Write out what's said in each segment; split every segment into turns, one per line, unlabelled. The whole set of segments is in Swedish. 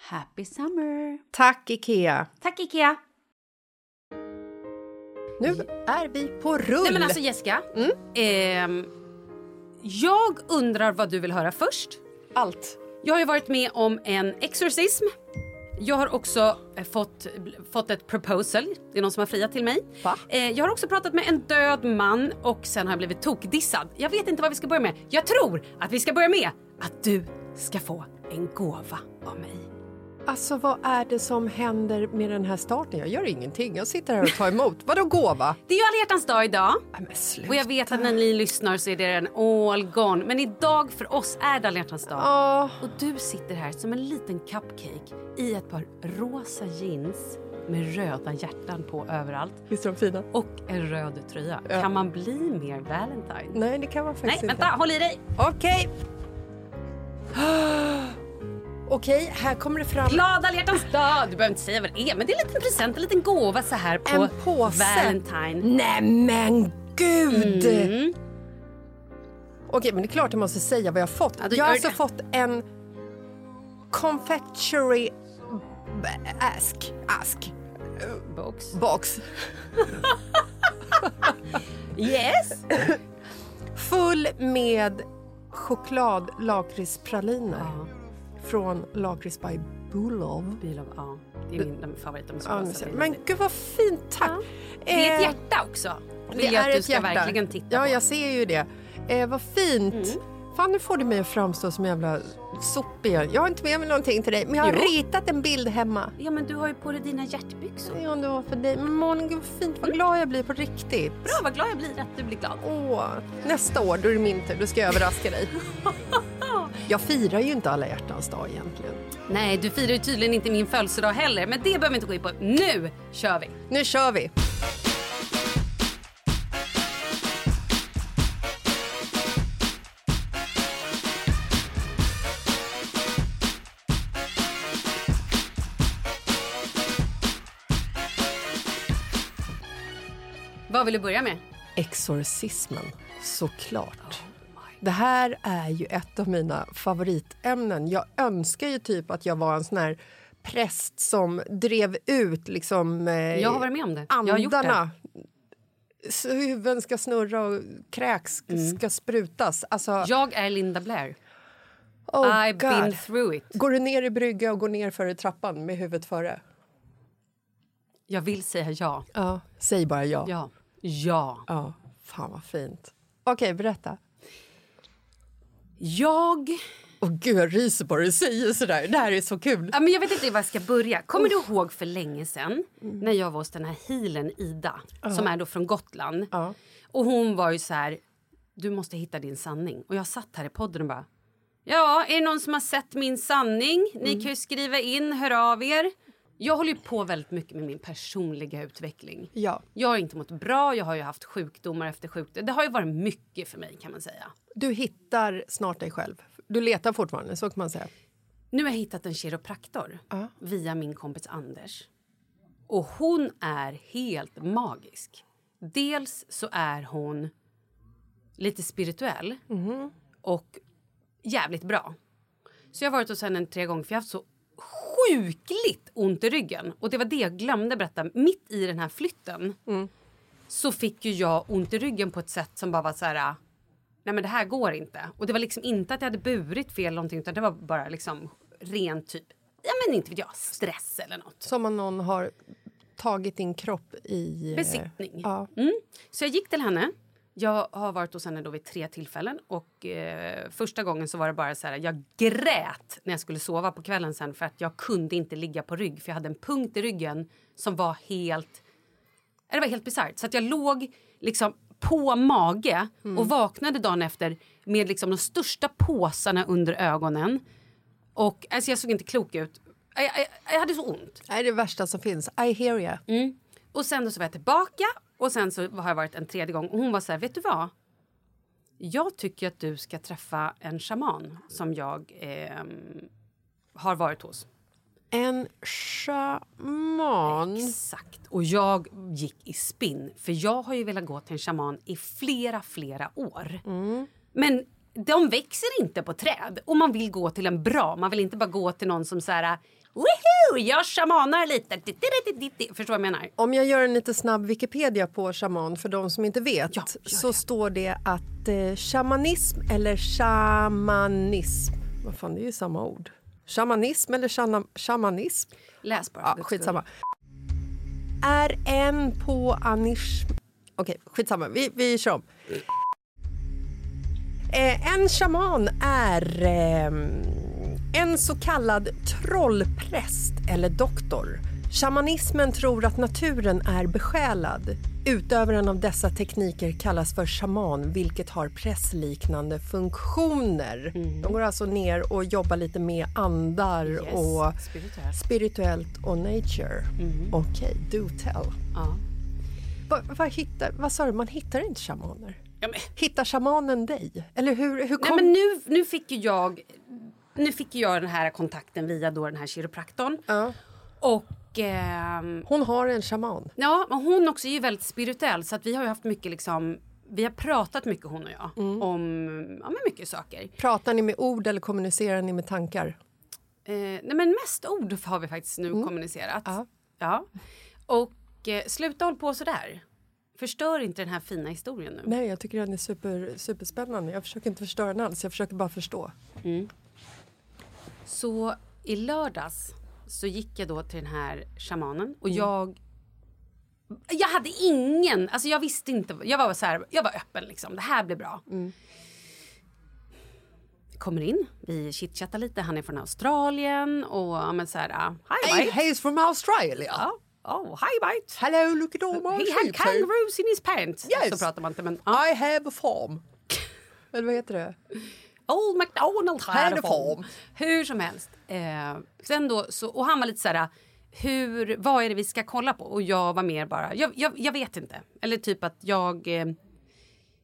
Happy summer!
Tack, Ikea.
Tack Ikea!
Nu är vi på rull.
Nej men alltså Jessica. Ehm, jag undrar vad du vill höra först.
Allt.
Jag har ju varit med om en exorcism. Jag har också eh, fått, fått ett proposal. Det är någon som har friat till mig.
Va?
Eh, jag har också pratat med en död man och sen har jag blivit tokdissad. Jag vet inte vad vi ska börja med. Jag tror att vi ska börja med att du ska få en gåva av mig.
Alltså, vad är det som händer med den här starten? Jag gör ingenting. Jag sitter här och tar emot. Vadå gåva?
Det är ju alla hjärtans dag idag.
Nej, men sluta.
Och jag vet att när ni lyssnar så är det den all gone. Men idag för oss är det alla hjärtans dag.
Ja.
Och du sitter här som en liten cupcake i ett par rosa jeans med röda hjärtan på överallt
Visst är de fina?
och en röd tröja. Kan man bli mer Valentine?
Nej, det kan man
Nej,
faktiskt
vänta, håll i dig!
inte. Okej. Okej, här kommer det fram
Glad alla hjärtans dag! Du behöver inte säga vad det är, men det är en liten present, en liten gåva så här på
En påse.
Valentine. Mm.
Nej men gud! Okej, men det är klart jag måste säga vad jag har fått.
Ja, du
jag har
gör
alltså
det.
fått en confectionery b- ask, ask,
Box.
box
Yes!
full med chokladlakritspraliner från Lakrits by Bulov.
Bil av, ja, det är min de favorit. De är så
Ja,
rosa.
nu ser jag. Men gud vad fint, tack!
Det är ett
Eh,
hjärta också. Vill
Det
jag
är
att du
ett
ska
hjärta.
verkligen titta
Ja,
på. Mm.
jag ser ju det. Eh, vad fint! Fan, nu får du mig att framstå som en jävla sopig. Jag har inte med mig någonting till dig, men jag har
Jo.
ritat en bild hemma.
Ja, men du har ju på dig dina hjärtbyxor.
Det är om det var för dig. Men Malin, gud vad fint. Vad glad jag blir på riktigt.
Bra, vad glad jag blir att du blir glad.
Åh, nästa år, då är det min tur. Då ska jag överraska dig. Jag firar ju inte alla hjärtans dag egentligen.
Nej, du firar ju tydligen inte min födelsedag heller, men det behöver vi inte gå in på. Nu kör vi!
Nu kör vi!
Vad vill du börja med?
Exorcismen, såklart. Det här är ju ett av mina favoritämnen. Jag önskar ju typ att jag var en sån här präst som drev ut liksom eh,
Jag har varit med om det. Jag har gjort
andarna. Så Huvuden ska snurra och kräks
Mm.
ska sprutas. Alltså,
Jag är Linda Blair.
oh
I've been
God.
through it.
Går du ner i brygga och går ner före trappan med huvudet före?
Jag vill säga ja.
Ja. Säg bara ja. ja.
Ja. Ja.
Fan vad fint. Okej, berätta.
Jag...
Åh gud, jag ryser bara du säger sådär. Det här är så kul.
Ja, men jag vet inte var jag ska börja. Kommer du ihåg för länge sedan när jag var hos den här healern Ida, som är då från Gotland? Och hon var ju så här, du måste hitta din sanning. Och jag satt här i podden och bara, ja, är det någon som har sett min sanning? Ni kan ju skriva in, hör av er. Jag håller ju på väldigt mycket med min personliga utveckling.
Ja,
Jag har inte mått bra, jag har ju haft sjukdomar efter sjukdomar. Det har ju varit mycket för mig kan man säga.
du hittar snart dig själv. Du letar fortfarande, så kan man säga.
Nu har jag hittat en kiropraktor via min kompis Anders. Och hon är helt magisk. Dels så är hon lite spirituell och jävligt bra. Så jag har varit hos henne en tre gånger för jag har haft så sjukligt ont i ryggen. Och det var det jag glömde berätta. Mitt i den här flytten så fick ju jag ont i ryggen på ett sätt som bara var så här... Nej men det här går inte. Och det var liksom inte att jag hade burit fel eller någonting utan det var bara liksom rent typ, ja men inte vet jag, stress eller något.
Som om någon har tagit din kropp i... eh,
Besittning.
Ja.
Mm. Så jag gick till henne. Jag har varit hos henne då vid tre tillfällen. Och eh, Första gången så var det bara så här, jag grät när jag skulle sova på kvällen sen för att jag kunde inte ligga på rygg för jag hade en punkt i ryggen som var helt... Ja, Det var helt bisarrt. Så att jag låg liksom på mage och vaknade dagen efter med liksom de största påsarna under ögonen. Och alltså jag såg inte klok ut. Jag, jag, jag hade så ont.
Det är det värsta som finns. I hear ya.
Och sen då så var jag tillbaka och sen så har jag varit en tredje gång och hon var så här, vet du vad? Jag tycker att du ska träffa en shaman som jag ehm, har varit hos.
En shaman.
Exakt. Och jag gick i spinn. För jag har ju velat gå till en shaman i flera, flera år.
Mm.
Men de växer inte på träd. Och man vill gå till en bra. Man vill inte bara gå till någon som så här... Woohoo! Jag shamanar lite. Dittididididi. Förstår du vad jag menar?
Om jag gör en lite snabb Wikipedia på shaman för de som inte vet så står det att eh, shamanism eller shamanism... Vad fan, det är ju samma ord. Shamanism eller shana, shamanism
Läs bara. för
Ja,
guds skull.
skitsamma. Är en på Anish... Okej, skitsamma. Vi, vi kör om. Eh, en shaman är ehm, en så kallad trollpräst eller doktor. Shamanismen tror att naturen är besjälad. Utövaren av dessa tekniker kallas för shaman vilket har pressliknande funktioner. De går alltså ner och jobbar lite med andar
Mm. Yes,
och
spirituellt. Mm.
spirituellt och nature. Okej, do tell.
Ja.
Va, va, hittar, vad sa du, man hittar inte shamaner?
Ja, men-
Hittar shamanen dig? Eller hur, hur
Nej,
kom...
men nu, nu fick ju jag nu fick ju jag den här kontakten via då den här kiropraktorn.
Ja.
Och ehm,
Hon har en shaman.
ja, men hon också är ju väldigt spirituell så att vi har ju haft mycket liksom vi har pratat mycket hon och jag
Mm.
om ja, men mycket saker.
Pratar ni med ord eller kommunicerar ni med tankar?
Eh, nej men mest ord har vi faktiskt nu kommunicerat.
Mm. Ja.
Ja. Och eh, sluta håll på sådär. Förstör inte den här fina historien nu.
Nej, jag tycker den är super, superspännande. Jag försöker inte förstöra den alls, jag försöker bara förstå.
Så i lördags så gick jag då till den här shamanen och jag... Jag hade ingen, alltså jag visste inte, jag var så här, jag var öppen liksom, det här blir bra. kommer in, vi chitchattar lite, han är från Australien och ja, men så här, ah, hi
Hey,
mate.
he's from Australia.
Oh, hi mate.
Hello, look at all my
He had
sheep.
kangaroos in his pants.
Yes.
Så pratar man inte, men ah,
I have a farm. Eller vad heter det?
old MacDonald
Had
had
a
a
farm.
farm. Hur som helst. Eh, sen då, så, och han var lite så här, hur, vad är det vi ska kolla på? Och jag var mer bara, jag, jag, jag vet inte. Eller typ att jag... Eh,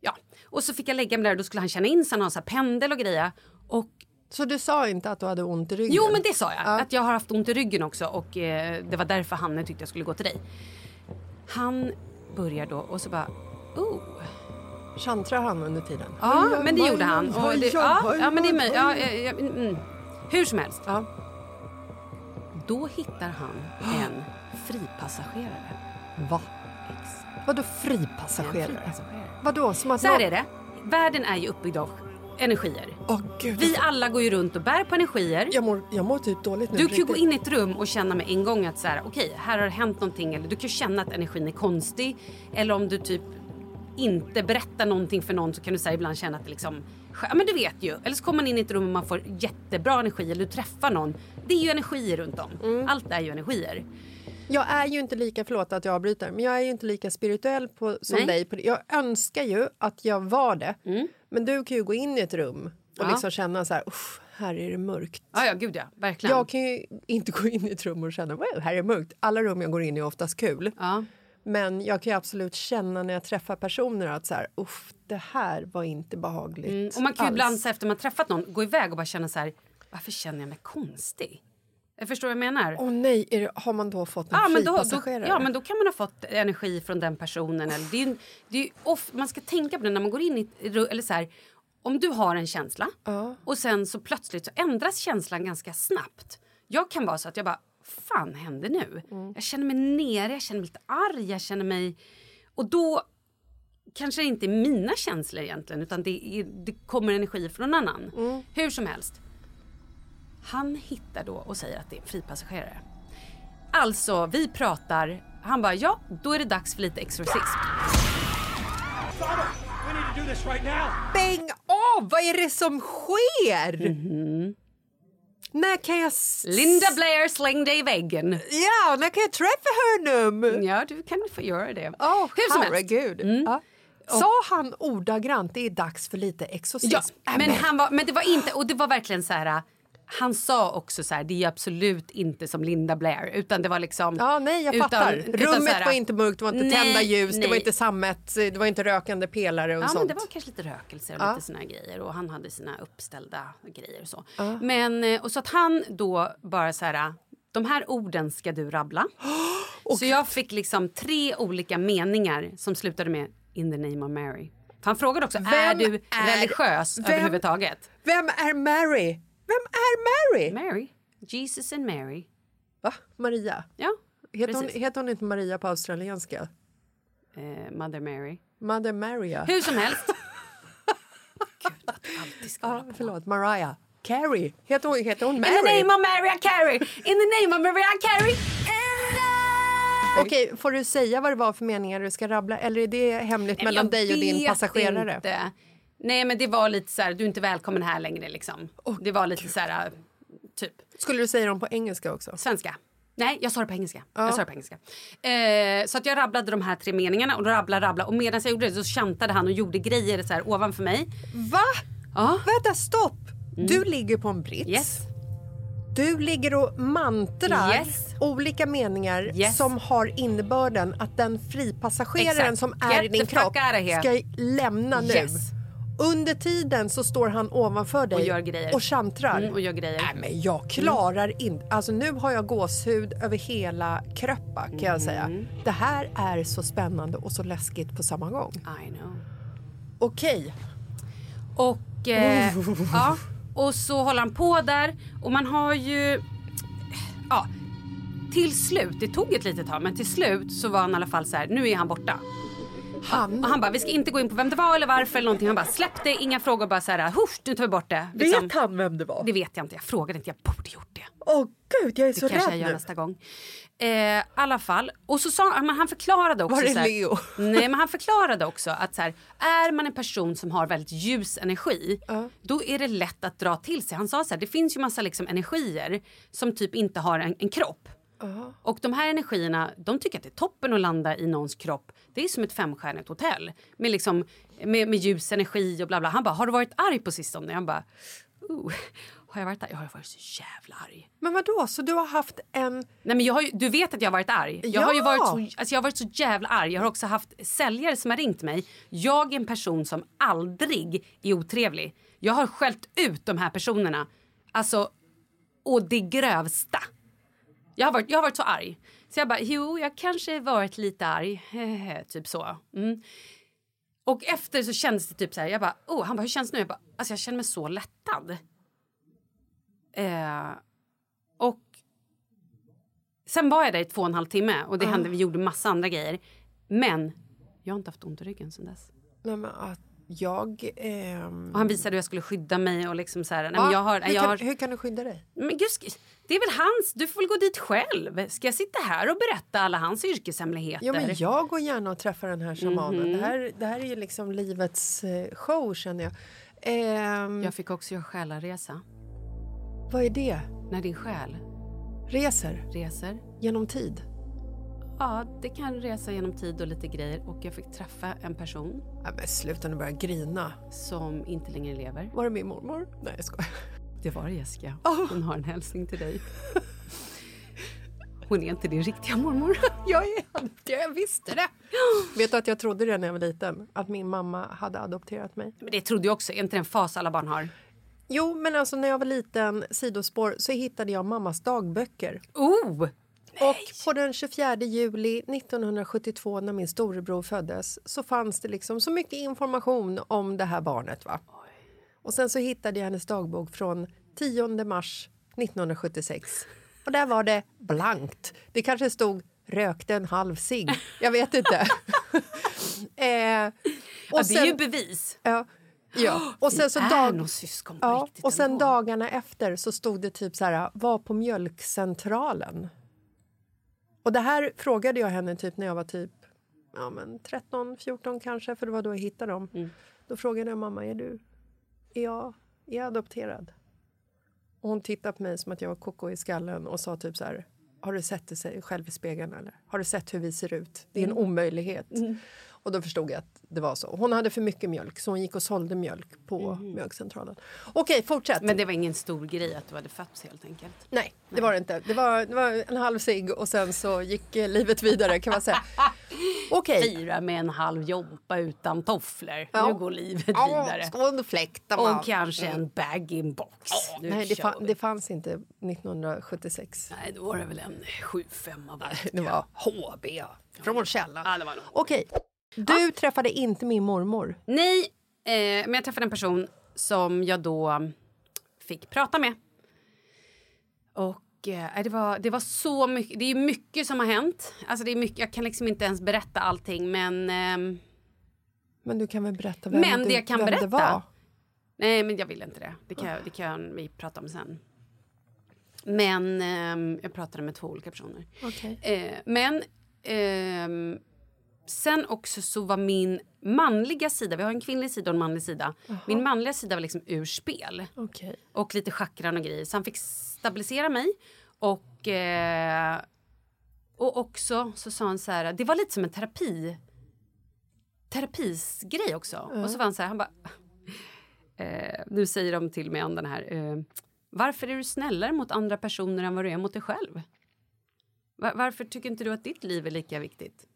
ja. Och så fick jag lägga mig där och då skulle han känna in sig, han har en sån här pendel och grejer. Och
Så du sa inte att du hade ont i ryggen?
Jo, men det sa jag. Att jag har haft ont i ryggen också och eh, det var därför Hanne tyckte jag skulle gå till dig. Han börjar då och så bara... Oh.
Chantrar han under tiden?
Ja,
Oj, oj,
men det
oj,
gjorde han.
oj,
Och
oj,
det,
oj,
ja,
oj,
ja, men det är
oj,
mig.
oj.
Ja, ja, ja, mm, mm. Hur som helst.
Ja.
Då hittar han en fripassagerare.
Va?
Ex.
Vadå
En
fripassagerare?
fripassagerare.
Vadå, som att
Så här
någon-
är det. Världen är ju uppbyggd av energier.
Åh gud.
Vi alla går ju runt och bär på energier.
Jag mår, jag mår typ dåligt nu.
Du
på
kan ju gå
riktigt.
in i ett rum och känna med en gång att så här, okej, här har det hänt någonting. Eller du kan ju känna att energin är konstig. Eller om du typ inte berättar någonting för någon så kan du så här, ibland känna att det liksom... Ja men du vet ju. Eller så kommer man in i ett rum och man får jättebra energi. Eller du träffar någon. Det är ju energier runt om.
Mm.
Allt är ju energier.
Jag är ju inte lika, förlåt att jag avbryter, men jag är ju inte lika spirituell på, som
Nej. Mm.
dig. På, det. jag önskar ju att jag var det. Men du kan ju gå in i ett rum och
Ja.
liksom känna så här, "Uff, här är det mörkt.
Ja, ja gud ja. Verkligen.
Jag kan ju inte gå in i ett rum och känna, wow, här är det mörkt. Alla rum jag går in i är oftast kul.
Ja.
Men jag kan ju absolut känna när jag träffar personer att så här, uff, det här var inte behagligt
Mm, Och man kan ju
alls."
ibland så här, efter man träffat någon gå iväg och bara känna så här, varför känner jag mig konstig? Jag förstår vad jag menar.
Ah, Åh nej, är det, har man då fått en
Ja men, då, då,
fripassagerare?
ja, men då kan man ha fått energi från den personen. Eller, det är ju, det är ju off, man ska tänka på det när man går in i... ett ru- Eller så här, om du har en känsla och sen så plötsligt så ändras känslan ganska snabbt. Jag kan vara så att jag bara, fan händer nu? Jag känner mig nere, jag känner mig lite arg, jag känner mig... Och då kanske det inte är mina känslor egentligen utan det, är, det kommer energi från någon annan. Hur som helst. Han hittar då och säger att det är en fripassagerare. Alltså, vi pratar. Han bara, ja, då är det dags för lite exorcism.
Father, we need to do this right now.
Bäng av! Vad är det som sker? När kan jag... s-
Mm-hmm. Linda Blair slängde i väggen.
Ja, när kan jag träffa honom?
Ja, du kan få göra det.
Åh,
Hur som helst. Mm.
herregud. Ja. Sa han ordagrant det är dags för lite exorcism?
Ja, men, han var, men det var inte, och det var verkligen så här... Han sa också så här, det är ju absolut inte som Linda Blair. Utan det var liksom...
Ja, nej, jag fattar. Rummet
så här-
var inte mörkt, det var inte
Nej,
tända ljus, det
nej.
var inte sammet, det var inte rökande pelare och
Ja,
sånt.
men det var kanske lite rökelser och lite såna här grejer. Och han hade sina uppställda grejer och så. Men, eh, och så att han då bara så här... De här orden ska du rabbla. så jag fick liksom tre olika meningar som slutade med In the name of Mary. För Han frågade också, är
Vem
du
är-
religiös
vem-
överhuvudtaget?
Vem är Mary? Vem är Mary?
Mary. Jesus and Mary.
Va? Maria?
Ja,
Heter hon,
precis.
heter hon inte Maria på australienska?
Eh, Mother Mary.
Mother Maria?
Hur som helst. Gud, att du alltid ska hålla
Ja, förlåt, Mariah. Carrie. Heter hon, heter hon
In the
Mary?
name of Maria Carey! In the name of Maria Carey!
Okej, får du säga vad det var för meningar du ska rabbla? Eller är det hemligt
Nej, men
mellan
jag
dig och din
vet
passagerare?
Inte. Nej, men det var lite så här, du är inte välkommen här längre liksom. det var lite så här, typ,
Skulle du säga dem på engelska också?
svenska. Nej, jag sa det på engelska. Jag sa det på engelska. Eh, så att jag rabblade de här tre meningarna och rabbla, rabbla. Och medan jag gjorde det så chantade han och gjorde grejer så här ovanför mig.
Va?
Ja.
Vänta, stopp! Du ligger på en brits.
Yes.
Mm. Du ligger och mantrar
Yes.
olika meningar
Yes.
som har innebörden att den fripassageraren
Exakt.
som är i
Get
din
the fuck
kropp
out of here.
ska lämna nu.
Yes.
Under tiden så står han ovanför dig
gör grejer.
och chantrar.
Mm, och gör grejer.
Nej, men jag klarar inte... Alltså, nu har jag gåshud över hela Kröppa. Kan jag säga.
Mm.
Det här är så spännande och så läskigt på samma gång.
I know.
Okej.
Och, eh, ja, och så håller han på där och man har ju... Ja, till slut, det tog ett litet tag, men till slut så var han i alla fall så här, nu är han borta.
Han?
Och han bara, vi ska inte gå in på vem det var eller varför eller någonting. Han bara, släpp det, inga frågor, bara så här, husch, nu tar vi bort det. Liksom.
Vet han vem det var?
Det vet jag inte, jag frågade inte, jag borde gjort det.
Åh gud, jag är så
Det kanske
rädd
jag gör
nu.
nästa gång. Eh, I alla fall. Och så sa, men han förklarade också...
Var det
så här,
Leo?
Nej, men han förklarade också att så här, är man en person som har väldigt ljus energi då är det lätt att dra till sig. Han sa så här, det finns ju massa liksom, energier som typ inte har en, en kropp. Och de här energierna, de tycker att det är toppen att landa i någons kropp. Det är som ett femstjärnigt hotell med, liksom, med, med ljus energi och bla bla. Han bara, har du varit arg på sistone? Jag bara, oh, har jag varit arg? Jag har varit så jävla arg.
Men vadå, så du har haft en...
Nej, men jag har ju, du vet att jag har varit arg. Jag, har ju
Ja!
varit så, alltså jag har varit så jävla arg. Jag har också haft säljare som har ringt mig. Jag är en person som aldrig är otrevlig. Jag har skällt ut de här personerna. Alltså, och det grövsta. Jag har varit, jag har varit så arg. Så jag bara, jo, jag kanske varit lite arg. typ så. Mm. Och efter så kändes det typ så här. Jag bara, oh, han bara, hur känns det nu? Jag bara, alltså jag känner mig så lättad. Eh, och sen var jag där i två och en halv timme och det hände, vi gjorde massa andra grejer. Men jag har inte haft ont i ryggen sen dess.
Nej, men att jag... ehm,
Och han visade hur jag skulle skydda mig och liksom så här, nej
va?
men jag har,
hur,
jag
kan,
har,
typ hur kan du skydda dig?
men gud, sk- det är väl hans, du får väl gå dit själv. Ska jag sitta här och berätta alla hans yrkeshemligheter?
Ja, men jag går gärna och träffar den här shamanen.
Mhm.
Det, här, det här är ju liksom livets eh, show, känner jag. Ehm,
Jag fick också göra själaresa.
Vad är det?
När din själ
Reser?
reser.
Genom tid?
Ja, det kan resa genom tid och lite grejer. Och jag fick träffa en person
Nej, men sluta nu börja grina.
som inte längre lever.
Var det min mormor? Nej, jag skojar.
Det var det, Jessica. Hon har en hälsning till dig. Hon är inte din riktiga mormor.
Jag, är, jag visste det! Vet du att jag trodde det när jag var liten? Att min mamma hade adopterat mig.
Men det trodde jag också. Är inte det en fas alla barn har?
Jo, men alltså när jag var liten, sidospår, så hittade jag mammas dagböcker.
Oh!
Och på den 24 juli 1972 när min storebror föddes så fanns det liksom så mycket information om det här barnet. Va? Och sen så hittade jag hennes dagbok från 10 mars 1976. Och där var det blankt. Det kanske stod rökte en halv cigg. Jag vet inte. eh, och
ja, det är ju
sen-
bevis.
Ja. ja. Och sen så
Vi är
dag...
nog syskon på
Ja,
riktigt
och sen
ändå.
dagarna efter så stod det typ så här, var på mjölkcentralen. Och det här frågade jag henne typ när jag var typ ja, men 13, 14 kanske, för det var då jag hittade dem.
Mm.
Då frågade jag mamma, är du, är jag, är jag adopterad? Och hon tittade på mig som att jag var koko i skallen och sa typ så här, har du sett dig själv i spegeln eller? Har du sett hur vi ser ut? Det är en
Mm.
omöjlighet. Och då förstod jag att det var så. Hon hade för mycket mjölk så hon gick och sålde mjölk på mjölkcentralen. Okej, fortsätt.
Mhm. Men det var ingen stor grej att du hade fötts helt enkelt.
Nej, det var det inte. Det var, det var en halv cigg och sen så gick eh, livet vidare kan man säga. Okej.
Fira med en halv jompa utan tofflor.
Ja.
Nu går livet vidare.
Skål och fläkta.
Och
man.
kanske en bag-in-box. Nu
Nej, det,
kör
fan,
vi.
det fanns inte 1976.
Nej, då var det väl en 7-5 av allt.
Det var HB från källan.
Ja, det var nog.
Okej. Du träffade inte min mormor.
Nej, eh, men jag träffade en person som jag då fick prata med. Och eh, det, var, det var så mycket. Det är mycket som har hänt. Alltså det är mycket, jag kan liksom inte ens berätta allting, men... ehm,
Men du kan väl berätta vem,
Men
du,
det jag kan
vem
berätta-
det var?
Nej, men jag vill inte det. Det kan, jag- det kan vi prata om sen. Men ehm, jag pratade med två olika personer.
Okej.
Eh, men ehm, sen också så var min manliga sida, vi har en kvinnlig sida och en manlig sida. Min manliga sida var liksom ur spel
Okej.
och lite chakran och grejer. Så han fick stabilisera mig. Och, eh, och också så sa han så här, det var lite som en terapi terapisgrej också. Och så var han så här, han bara, eh, nu säger de till mig om den här, eh, varför är du snällare mot andra personer än vad du är mot dig själv? Va- varför tycker inte du att ditt liv är lika viktigt?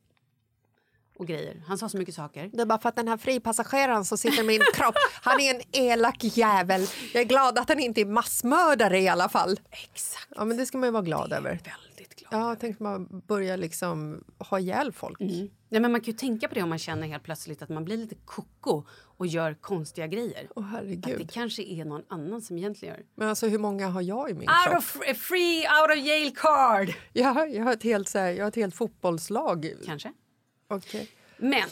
Och grejer. Han sa så mycket saker.
Det är bara för att den här fripassageraren som sitter i min kropp, han är en elak jävel. Jag är glad att han inte är massmördare i alla fall.
Exakt.
Ja, men det ska man ju vara glad över.
Väldigt glad.
Ja, tänk om man börjar liksom ha ihjäl folk.
Nej, men man kan ju tänka på det om man känner helt plötsligt att man blir lite koko och gör konstiga grejer.
Åh
att det
herregud.
kanske är någon annan som egentligen gör.
Men alltså hur många har jag i min
Out
kropp?
of free out of jail card!
Jag, har- jag, har ett helt, så här, jag har ett helt fotbollslag.
Kanske.
Okej.
Men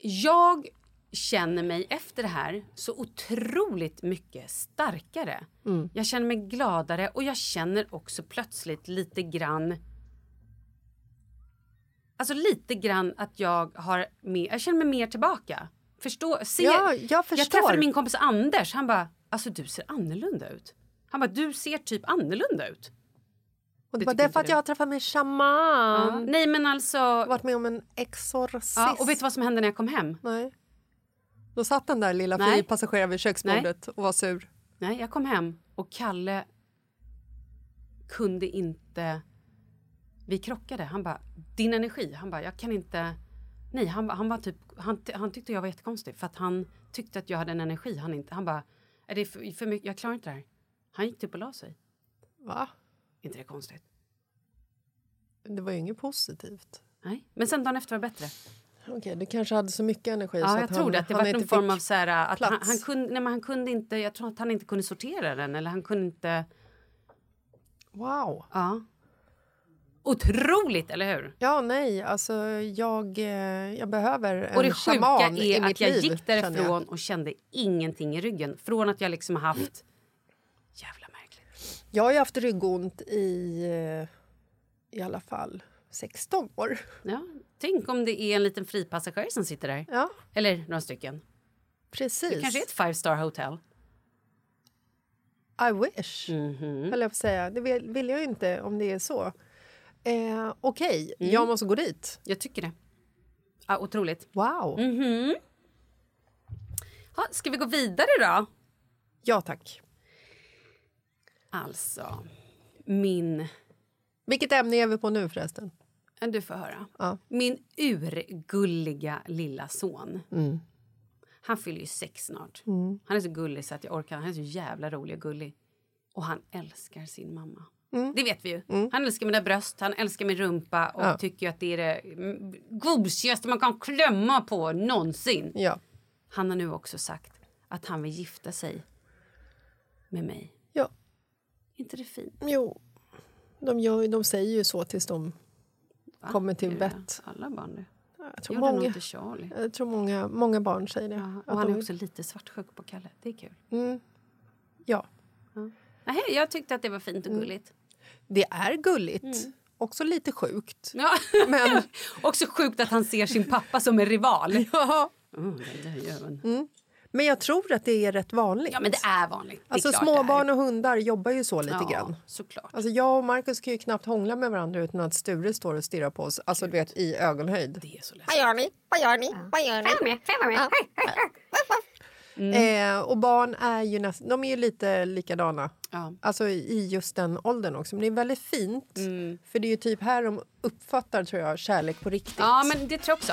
Jag känner mig efter det här så otroligt mycket starkare.
Mm.
Jag känner mig gladare och jag känner också plötsligt lite grann Alltså lite grann att jag har mer, jag känner mig mer tillbaka. Förstå, ser,
Ja, jag förstår.
jag träffade min kompis Anders, han bara, alltså du ser annorlunda ut. Han bara, du ser typ annorlunda ut.
Och det
Det
var
tycker
därför
inte
att jag
du.
har träffat min
Ja,
shaman.
Nej men alltså,
Varit med om en exorcism.
ja, och vet du vad som hände när jag kom hem?
Nej. Då satt den där lilla
Nej.
fyrpassageraren vid köksbordet och var sur.
Nej, jag kom hem och Kalle kunde inte... Vi krockade. Han bara, din energi. Han bara, jag kan inte... Nej, han, han var typ... Han, ty- han tyckte jag var jättekonstig för att han tyckte att jag hade en energi. Han inte... Han bara, är det för, för mycket? Jag klarar inte det här. Han gick typ och la sig.
Va?
Är inte det konstigt?
Det var ju inget positivt.
Nej. Men sen dagen efter var det bättre.
Okej, du kanske hade så mycket energi så
Ja, jag
att
tror
han,
det. Att det
han
var någon
inte
form
fick-
av så här, att han,
plats.
han kunde, nej, men han kunde inte, jag tror att han inte kunde sortera den eller han kunde inte,
Wow.
ja. Otroligt, eller hur?
Ja, nej, alltså jag, eh, jag behöver en
Och det sjuka
shaman i
är
mitt
att jag
liv,
gick
känner jag.
därifrån och kände ingenting i ryggen. Från att jag liksom har haft... Jävla märkligt.
Jag har ju haft ryggont i eh, i alla fall 16 år.
Ja, tänk om det är en liten fripassagerare som sitter där.
Ja,
Eller några stycken.
precis.
Det kanske är ett five star hotel.
I wish, höll jag på att säga. Det vill, vill jag ju inte om det är så. Eh, Okej, jag måste gå dit.
Jag tycker det. Ja, otroligt.
Wow.
Ha, ska vi gå vidare då?
Ja, tack.
Alltså, min...
Vilket ämne är vi på nu förresten?
Ja, Du får höra.
Ja.
Min urgulliga lilla son.
Mm.
Han fyller ju sex snart. Han är så gullig så att jag orkar. Han är så jävla rolig och gullig. Och han älskar sin mamma.
Mm.
Det vet vi ju. Han älskar mina bröst, han älskar min rumpa och
Ja.
tycker ju att det är det mm, gosigaste man kan klämma på någonsin.
Ja.
Han har nu också sagt att han vill gifta sig med mig.
ja.
inte det fint?
Jo, de, gör, ju- de säger ju så tills de
va?
kommer
Är
till
det
vett.
Alla barn det.
Jag tror,
Gjorde nog
många,
inte Charlie.
jag tror många, många barn säger det.
Ja,
Att
och han
de-
är också lite svartsjuk på Kalle. Det är kul.
ja.
Nej, jag tyckte att det var fint och
Mm.
gulligt.
Det är gulligt. Också lite sjukt.
Ja.
Men-
också sjukt att han ser sin pappa som en rival.
Ja.
Mm, den där jäveln.
Men jag tror att det är rätt vanligt.
Ja, men det är vanligt. Det är
alltså
klart
småbarn
det
och hundar jobbar ju så
är.
lite grann.
Ja, såklart.
Alltså jag och Markus kan ju knappt hångla med varandra utan att Sture står och stirrar på oss, alltså du vet i ögonhöjd.
Det är så läskigt.
Vad gör ni? Vad gör ni? Vad gör ni? Fem med, fem med.
Mm.
Eh, och barn är ju nästan, de är ju lite likadana.
Ja.
Alltså i i just den åldern också. Men det är väldigt fint.
Mm.
För det är ju typ här de uppfattar tror jag kärlek på riktigt.
ja, men det tror jag också.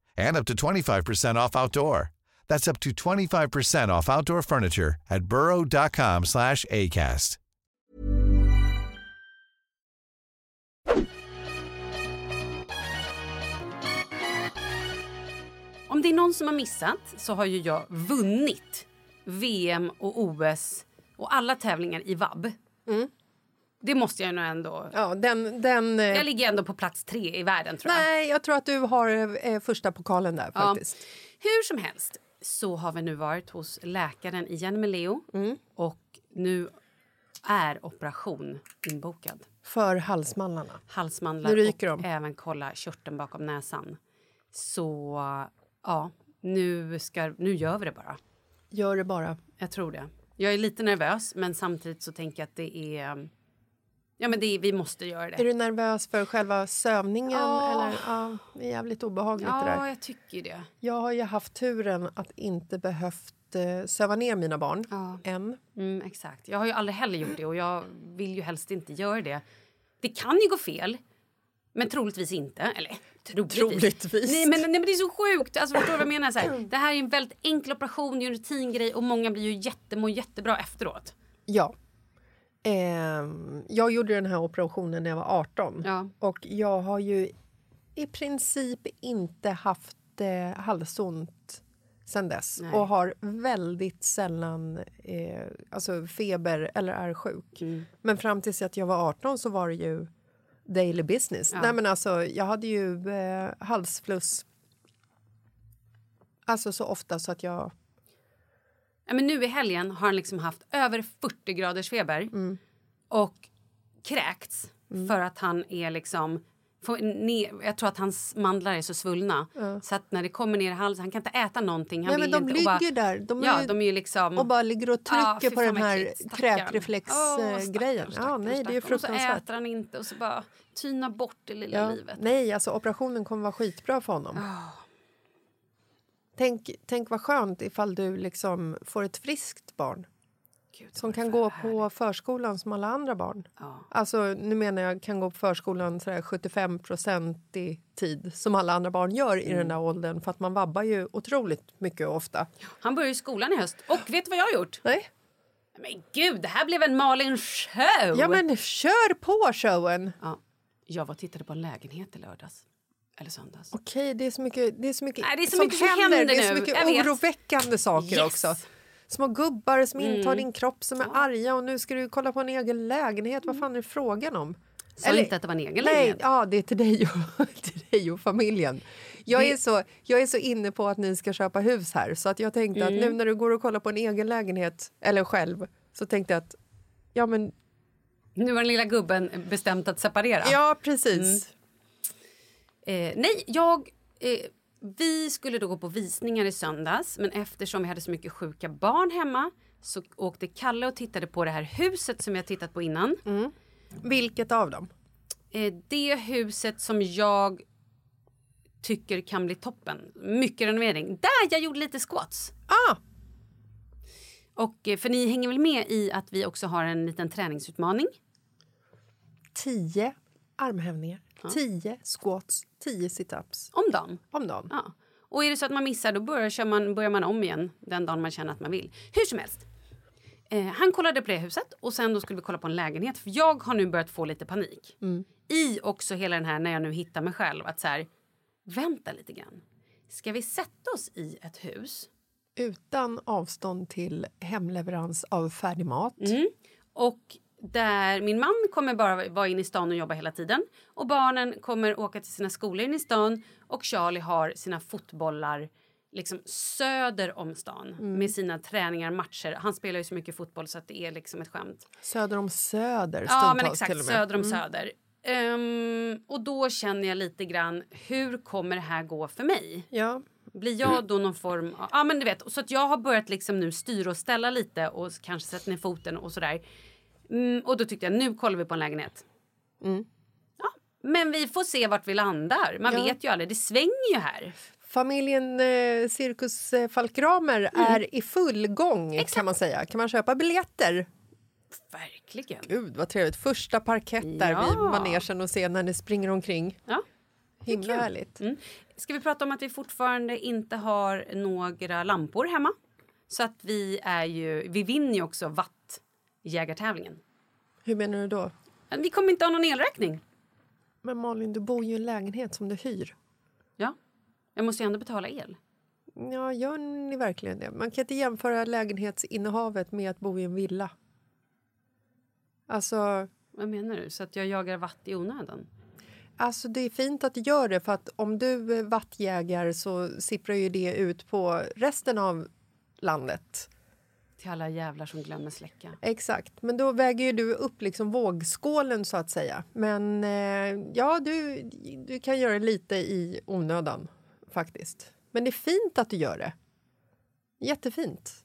and up to 25% off outdoor. That's up to 25% off outdoor furniture at burrow.com/acast.
Om det är någon som har missat så har ju jag vunnit VM och OS och alla tävlingar i VAB. Det måste jag nog ändå...
Mm. Ja, den... den eh,
Jag ligger ändå på plats tre i världen tror jag.
nej, jag tror att du har eh, första pokalen där
Ja.
faktiskt.
Hur som helst så har vi nu varit hos läkaren igen med Leo
Mm.
och nu är operation inbokad.
För halsmandlarna.
Halsmandlar
Nu ryker
och
de.
även kolla körteln bakom näsan. Så ja, nu, ska, nu gör vi det bara.
Gör det bara.
Jag tror det. Jag är lite nervös men samtidigt så tänker jag att det är... Ja men det är, vi måste göra det.
Är du nervös för själva sövningen?
Ja.
Eller? Ja, det är jävligt obehagligt det där.
ja, jag tycker det.
Jag har ju haft turen att inte behövt eh, söva ner mina barn
Ja.
än.
Mm, exakt. Jag har ju aldrig heller gjort det och jag vill ju helst inte göra det. Det kan ju gå fel, men troligtvis inte. Eller troligtvis.
Troligtvis.
Nej, men, nej, men det är så sjukt. Alltså, förstår du vad jag menar? Så här, det här är en väldigt enkel operation, det är en rutingrej och många blir ju jätte, mår jättebra efteråt.
Ja. Ehm, jag gjorde den här operationen när jag var 18
Ja.
och jag har ju i princip inte haft eh, halsont sen dess
Nej.
och har väldigt sällan eh, alltså feber eller är sjuk.
Mm.
Men fram tills att jag var 18 så var det ju daily business. Nej, men alltså, jag hade ju eh, halsfluss alltså så ofta så att jag...
Ja, men nu i helgen har han liksom haft över 40 graders feber och kräkts för att han är liksom... får ner- Jag tror att hans mandlar är så svullna så att när det kommer ner i halsen, han kan inte äta någonting. Han
Nej, men
vill
de
inte, och bara-
ligger där. De är
ja,
ju-
de är ju liksom...
och bara ligger och
Ja, fy
trycker på
fan
den
vad
här
äckligt. Stackaren. Åh, stackaren,
kräkreflexgrejen. ja,
stackaren,
nej, det är ju
stackaren. Och så
fruktansvärt.
äter han inte och så bara tynar bort det lilla
Ja.
livet. Ah.
Nej, alltså operationen kommer vara skitbra för honom. Tänk, tänk vad skönt ifall du liksom får ett friskt barn
Gud,
som
vad
kan
för
gå
härligt.
på förskolan som alla andra barn.
Ja.
Alltså, nu menar jag kan gå på förskolan sådär 75 i tid som alla andra barn gör i
Mm.
den där åldern för att man vabbar ju otroligt mycket och ofta.
Han börjar ju skolan i höst. Och vet du vad jag har gjort?
Nej?
Men gud, det här blev en Malin show!
Ja, men kör på showen!
Ja. Jag var och tittade på en lägenhet i lördags. Eller söndags.
Okej, det är så mycket, det är så mycket,
Nej, det är så mycket som händer
Det är så
nu.
mycket
Jag vet.
oroväckande saker
Yes. Mm.
också. Små gubbar som intar din kropp som är arga och nu ska du kolla på en egen lägenhet. Vad fan är det frågan om?
Mm. Sa inte att det var en egen
Nej,
lägenhet.
ja, det är till dig och, till dig och familjen. Jag, är så, jag är så inne på att ni ska köpa hus här så att jag tänkte att
Mm.
nu när du går och kollar på en egen lägenhet eller själv så tänkte jag att ja, men
Nu har den lilla gubben bestämt att separera.
ja, precis.
Eh, nej, jag... Eh, vi skulle då gå på visningar i söndags men eftersom vi hade så mycket sjuka barn hemma så åkte Kalle och tittade på det här huset som jag tittat på innan. Mm.
Vilket av dem?
Eh, det huset som jag tycker kan bli toppen. Mycket renovering. Där jag gjorde lite squats.
Ah,
Och, eh, för ni hänger väl med i att vi också har en liten träningsutmaning?
tio armhävningar, tio squats, tio situps.
Om dagen.
om dagen.
Ja. Och är det så att man missar då börjar, kör man, börjar man om igen den dagen man känner att man vill. Hur som helst. Eh, han kollade på det huset och sen då skulle vi kolla på en lägenhet. För jag har nu börjat få lite panik. I också hela den här när jag nu hittar mig själv att så här, vänta lite grann. Ska vi sätta oss i ett hus
Utan avstånd till hemleverans av färdig mat.
Mm. och där min man kommer bara vara inne i stan och jobba hela tiden och barnen kommer åka till sina skolor inne i stan och Charlie har sina fotbollar liksom söder om stan
Mm.
med sina träningar, matcher. Han spelar ju så mycket fotboll så att det är liksom ett skämt.
Söder om Söder,
Ja,
stundtals
men
till och
exakt.
med. Mm.
Söder om Söder. Ehm, och då känner jag lite grann, hur kommer det här gå för mig?
Ja.
Blir jag då någon form av... Ja, men du vet. Så att jag har börjat liksom nu styra och ställa lite och kanske sätta ner foten och sådär. Mm, och då tyckte jag, nu kollar vi på en lägenhet. Ja, men vi får se vart vi landar. Man vet ju aldrig, det svänger ju här.
Familjen eh, Cirkus eh, Falkramer
Mm.
är i full gång kan man säga. Kan man köpa biljetter?
Verkligen.
Gud vad trevligt. Första parkett där
Ja.
vid manegen och se när ni springer omkring.
Ja.
Himla härligt.
Mm. Ska vi prata om att vi fortfarande inte har några lampor hemma? Så att vi är ju, vi vinner ju också vattjägartävlingen.
Hur menar du då?
Vi kommer inte ha någon elräkning.
Men Malin, du bor ju i en lägenhet som du hyr.
Ja, jag måste ju ändå betala el.
Ja, gör ni verkligen det? Man kan inte jämföra lägenhetsinnehavet med att bo i en villa. Alltså,
Vad menar du? Så att jag jagar vatt i onödan?
alltså det är fint att du gör det för att om du eh, vattjägar så sipprar ju det ut på resten av landet.
Till alla jävlar som glömmer släcka.
Exakt, men då väger ju du upp liksom vågskålen så att säga. Men eh, ja, du, du kan göra det lite i onödan faktiskt. Men det är fint att du gör det. Jättefint.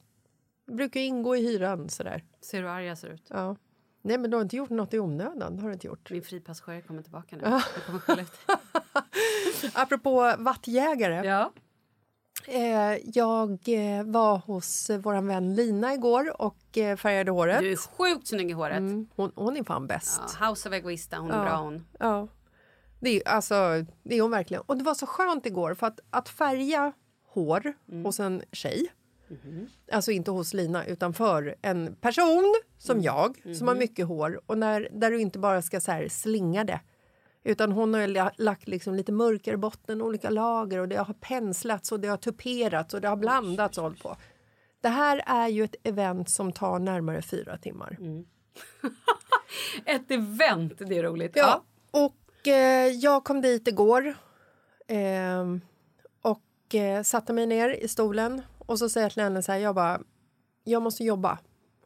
Det brukar ju ingå i hyran sådär.
Ser du hur arg jag ser ut?
Ja. Nej, men du har inte gjort något i onödan. Det har du inte gjort.
Min fripassagerare kommer tillbaka nu. Jag kommer skälla ut dig.
Apropå vattjägare.
Ja.
Eh, jag eh, var hos eh, vår vän Lina igår och eh, färgade håret.
Du är sjukt snygg i håret.
Hon, hon är fan bäst.
Ja, House of Egoista, hon är bra hon.
Mm. Ja. Det är, alltså, det är hon verkligen. Och det var så skönt igår för att, att färga hår hos en tjej Alltså inte hos Lina, utan för en person som jag som har mycket hår och när, där du inte bara ska så här slinga det. Utan hon har ju la- lagt liksom lite mörkare botten, olika lager och det har penslats och det har tuperats och det har blandats och hållit på. Det här är ju ett event som tar närmare fyra timmar.
Ett event, det är roligt.
Ja. Och eh, jag kom dit igår ehm, och eh, satte mig ner i stolen och så säger jag till henne så här, jag bara, jag måste jobba.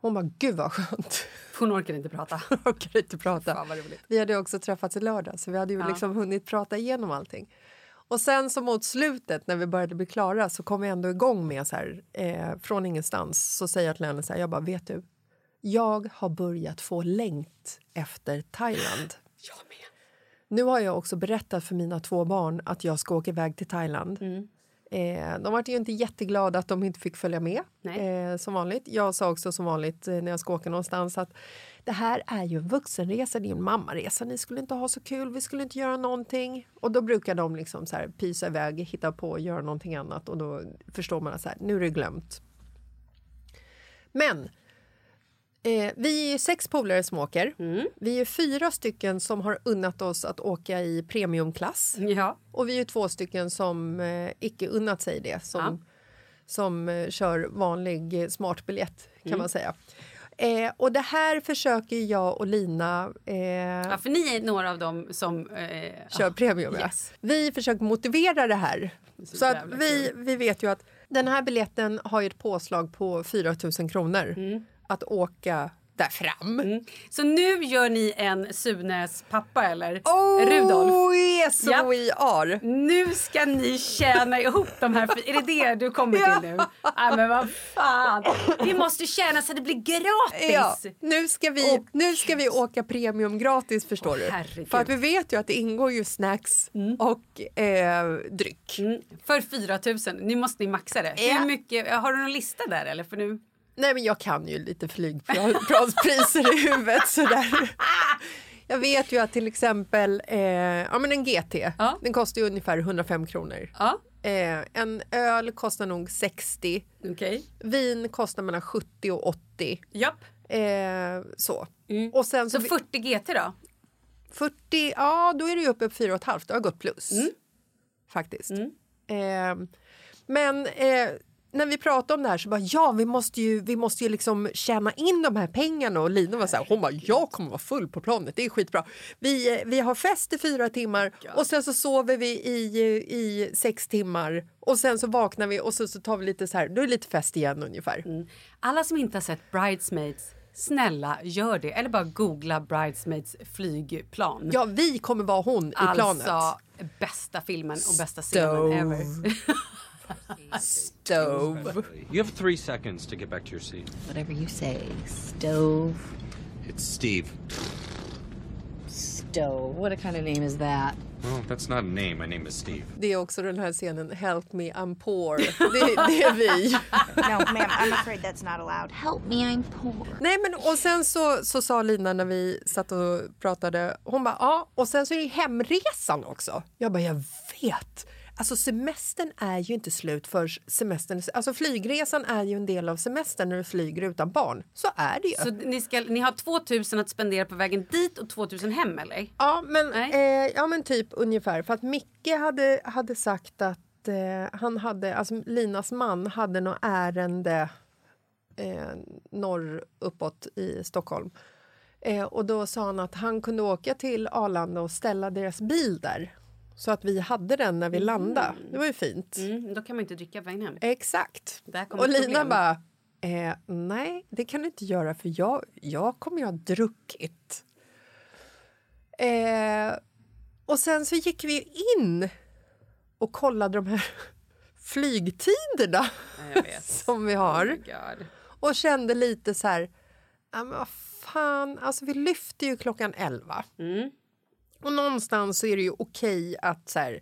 Hon bara, gud vad skönt.
Hon orkar inte prata.
Jag orkar inte prata.
Fan vad roligt.
Vi hade ju också träffats i lördag så vi hade ju liksom hunnit prata igenom allting. Och sen så mot slutet när vi började bli klara så kom vi ändå igång med så här eh, från ingenstans så säger jag till henne så här, jag bara vet du, jag har börjat få längt efter Thailand.
Jag med.
Nu har jag också berättat för mina två barn att jag ska åka iväg till Thailand. Eh, de var ju inte jätteglada att de inte fick följa med.
Nej.
Eh, som vanligt. Jag sa också som vanligt eh, när jag ska åka någonstans att det här är ju en vuxenresa, det är ju en mammaresa. Ni skulle inte ha så kul, vi skulle inte göra någonting. Och då brukar de liksom så här pysa iväg, hitta på, göra någonting annat och då förstår man att så här, nu är det glömt. Men Eh, vi är ju sex polare som åker. Vi är fyra stycken som har unnat oss att åka i premiumklass.
Ja.
Och vi är två stycken som eh, icke unnat sig det. Som, som eh, kör vanlig eh, smartbiljett kan man säga. Eh, och det här försöker ju jag och Lina eh,
ja, för ni är några av dem som... Eh,
kör premium. ja.
yes.
Vi försöker motivera det här. Så,
så
att
jävla
vi, vi vet ju att den här biljetten har ju ett påslag på 4 000 kronor. Att åka där fram.
Mm. Så nu gör ni en Sunes pappa, eller?
Oh,
Rudolf.
yes
Ja.
we are!
Nu ska ni tjäna ihop de här... fy- Är det det du kommer till nu? Nej, men vad fan. Vi måste tjäna så det blir
Ja,
gratis!
nu, ska vi, nu ska vi åka premium gratis förstår du.
herregud.
För att vi vet ju att det ingår ju snacks och eh, dryck.
Mm. För 4 000. Nu måste ni maxa det.
Ja.
Hur mycket, har du någon lista där? Eller? För nu,
Nej men jag kan ju lite flygplanspriser i huvudet sådär. Jag vet ju att till exempel eh, ja, men en GT,
Ja.
den kostar ju ungefär 105 kronor.
ja,
Eh, en öl kostar nog 60,
okej.
vin kostar mellan 70 och 80.
Japp.
Eh, så. Och sen
Mm. Så
vi-
40 GT då?
40, ja då är det ju uppe på 4,5. Det har gått plus. Faktiskt. Eh, men eh, när vi pratade om det här så bara ja, vi måste ju, vi måste ju liksom tjäna in de här pengarna och Lina var så här, hon bara, jag kommer vara full på planet, det är skitbra. Vi, eh, vi har fest i fyra timmar och sen så sover vi i, eh, i sex timmar och sen så vaknar vi och så, så tar vi lite så här, då är det lite fest igen ungefär.
Alla som inte har sett Bridesmaids, snälla gör det. Eller bara googla Bridesmaids flygplan.
Ja, vi kommer vara hon i planet.
alltså, bästa filmen och bästa scenen ever.
Stove.
You have three seconds to get back to your seat.
Whatever you say, stove,
It's Steve.
stove. What a kind of name is that?
Well, that's not a name. My name is Steve.
Det är också den här scenen Help me I'm poor. Det, det är vi.
No, ma'am, I'm afraid that's not allowed.
Help me, I'm poor.
Nej men och sen så, så sa Lina när vi satt och pratade, hon bara ja och sen så är det hemresan också. Jag bara jag vet. Alltså semestern är ju inte slut för semestern, alltså flygresan är ju en del av semestern när du flyger utan barn. Så är det ju.
Så ni, ska, ni har 2000 att spendera på vägen dit och 2000 hem eller?
Ja men,
Nej.
eh, ja men typ ungefär. För att Micke hade, hade sagt att att eh, han hade, alltså Linas man hade något ärende eh, norr uppåt i Stockholm. Eh, och då sa han att han kunde åka till Arlanda och ställa deras bil där. Så att vi hade den när vi landade. Det var ju fint.
Mm, då kan man inte dricka på vägen hem.
Exakt.
Där kommer
Och Lina
problem.
bara, eh, nej det kan du inte göra för jag, jag kommer ju ha druckit. Eh, och sen så gick vi in och kollade de här flygtiderna som vi har. och kände lite så här, ja men vad fan, alltså vi lyfter ju klockan 11. Och någonstans så är det ju okej att så här,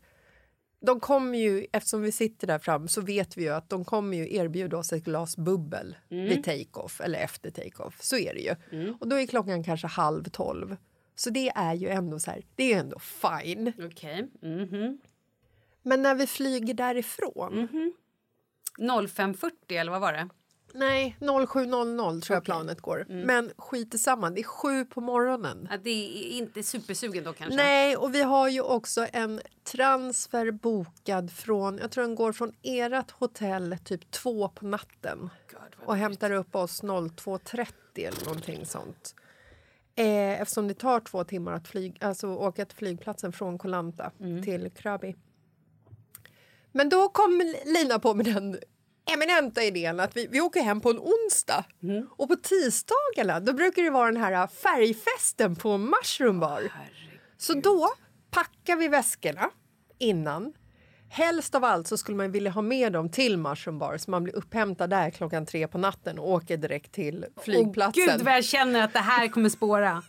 de kommer ju, eftersom vi sitter där fram så vet vi ju att de kommer ju erbjuda oss ett glas bubbel vid take-off eller efter take-off. Så är det ju. Och då är klockan kanske halv tolv. Så det är ju ändå så här, det är ju ändå fine.
Okej. mhm.
Men när vi flyger därifrån,
05.40 eller vad var det?
nej 07.00 tror jag planet går. Men skit i samma, det är sju på morgonen.
Ja, det är inte supersugen då kanske?
Nej, och vi har ju också en transfer bokad från, jag tror den går från ert hotell typ två på natten och hämtar upp oss 02.30 eller någonting sånt. Eh, eftersom det tar två timmar att flyg, alltså åka till flygplatsen från Koh Lanta till Krabi. Men då kom Lina på med den eminenta idén att vi, vi åker hem på en onsdag.
Mm.
Och på tisdagarna då brukar det vara den här äh, färgfesten på Mushroom Bar. så då packar vi väskorna innan. Helst av allt så skulle man vilja ha med dem till Mushroom Bar så man blir upphämtad där klockan tre på natten och åker direkt till flygplatsen.
Gud vad jag känner att det här kommer spåra.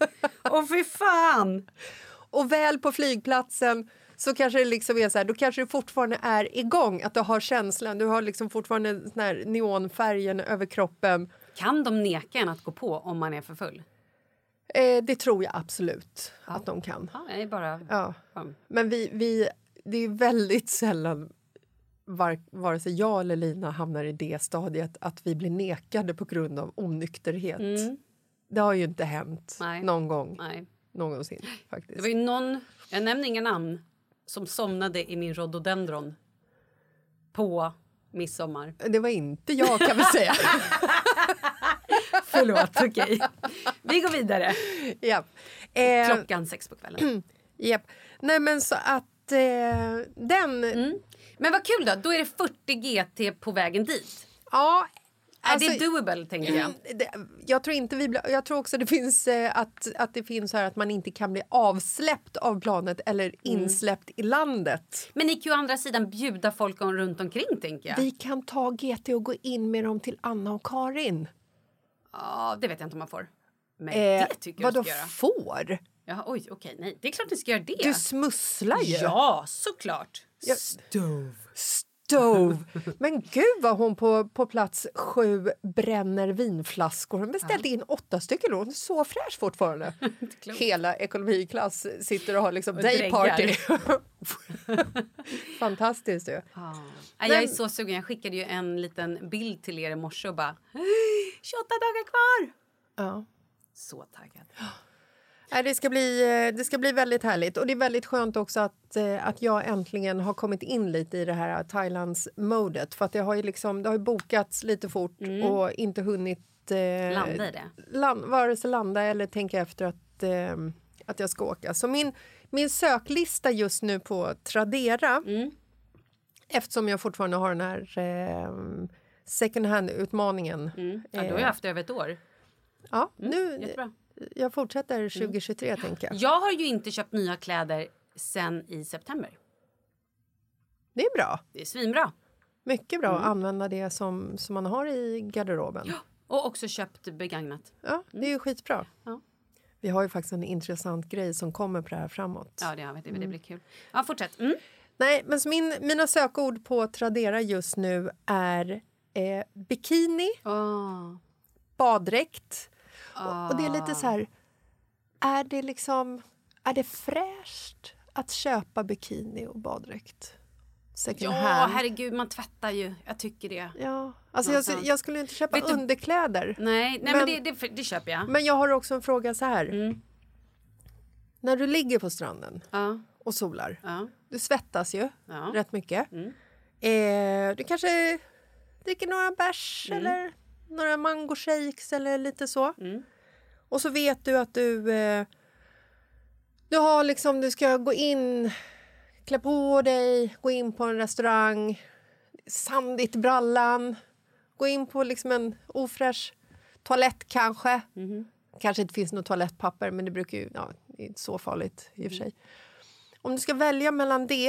Åh fy fan!
Och väl på flygplatsen så kanske det liksom är så här, då kanske det fortfarande är igång, att du har känslan, du har liksom fortfarande den här neonfärgen över kroppen.
Kan de neka en att gå på om man är för full?
Eh, det tror jag absolut att de kan.
Ja, jag är bara...
Ja.
Ja.
Men vi, vi, det är väldigt sällan var, vare sig jag eller Lina hamnar i det stadiet att vi blir nekade på grund av onykterhet. Det har ju inte hänt
Mm. Nej.
någon gång
Nej.
någonsin faktiskt.
Det var ju någon, jag nämner inga namn, som somnade i min rhododendron på midsommar.
Det var inte jag kan vi säga.
Förlåt, okej. Vi går vidare.
ja. Eh,
Klockan sex på kvällen.
Japp. Nej men så att eh, den...
Mm. Men vad kul då, då är det 40 GT på vägen dit.
Ja, alltså, mm,
är det doable tänker jag?
det, jag tror inte vi blir, Jag tror också det finns eh, att, att det finns så här att man inte kan bli avsläppt av planet
Mm.
eller insläppt i landet.
Men ni kan ju å andra sidan bjuda folk om- runt omkring tänker jag.
Vi kan ta GT och gå in med dem till Anna och Karin.
Ja, det vet jag inte om man får. Men
Eh,
det tycker jag
vadå
du ska göra.
får?
Jaha, oj, okej, nej. Det är klart ni ska göra det.
Du smusslar ju!
Ja, såklart. Stove.
Stove! Men gud vad hon på, på plats sju bränner vinflaskor. Hon beställde in åtta stycken och hon är så fräsch fortfarande. Hela ekonomiklass sitter och har liksom
Och
dayparty. Fantastiskt ju.
Nej, Jag är så sugen. Jag skickade ju en liten bild till er i morse och bara 28 dagar kvar!
Ja.
Så taggad.
Nej, Det ska, bli, eh, det ska bli väldigt härligt. Och det är väldigt skönt också att, eh, att jag äntligen har kommit in lite i det här Thailands-modet. För att det har ju liksom, det har ju bokats lite fort och inte hunnit... eh,
Mm. Landa i det.
Land, vare sig landa eller tänka efter att, eh, att jag ska åka. Så min, min söklista just nu på Tradera
Mm.
eftersom jag fortfarande har den här eh, second hand-utmaningen.
Mm.
eh,
Ja, du har ju haft det över ett år.
Ja, nu,
Jättebra. Mm.
jag fortsätter 2023, tänker jag.
Jag har ju inte köpt nya kläder sen i september.
Det är bra.
Det är svinbra.
Mycket bra att
Mm.
använda det som, som man har i garderoben. Ja,
Och också köpt begagnat.
det är ju skitbra.
Mm. Ja.
Vi har ju faktiskt en intressant grej som kommer på det här framåt.
Ja, det har vi. Det det blir kul. Ja, fortsätt. Mm.
Nej, men så min, mina sökord på Tradera just nu är eh, bikini,
Åh.
baddräkt. Och, och det är lite så här... Är det liksom... Är det fräscht att köpa bikini och baddräkt? Second
Ja,
hand.
herregud, man tvättar ju. Jag tycker det.
Ja, alltså jag,
Någonstans.
jag skulle inte köpa
Vet du-
underkläder.
Nej, nej men,
Men-
det, det, det köper jag.
Men jag har också en fråga så här. När du ligger på stranden
Mm. Ja,
och solar,
ja,
du svettas ju
Ja. Mm.
rätt mycket. Eh, du kanske dricker några bärs
Mm.
eller några mango shakes eller lite så.
Mm.
Och så vet du att du... Eh, du har liksom, du ska gå in, klä på dig, gå in på en restaurang, sandigt brallan, gå in på liksom en ofräsch toalett kanske.
Mhm.
Kanske inte finns något toalettpapper, men det brukar ju, ja, det är inte så farligt i och för sig. Om du ska välja mellan det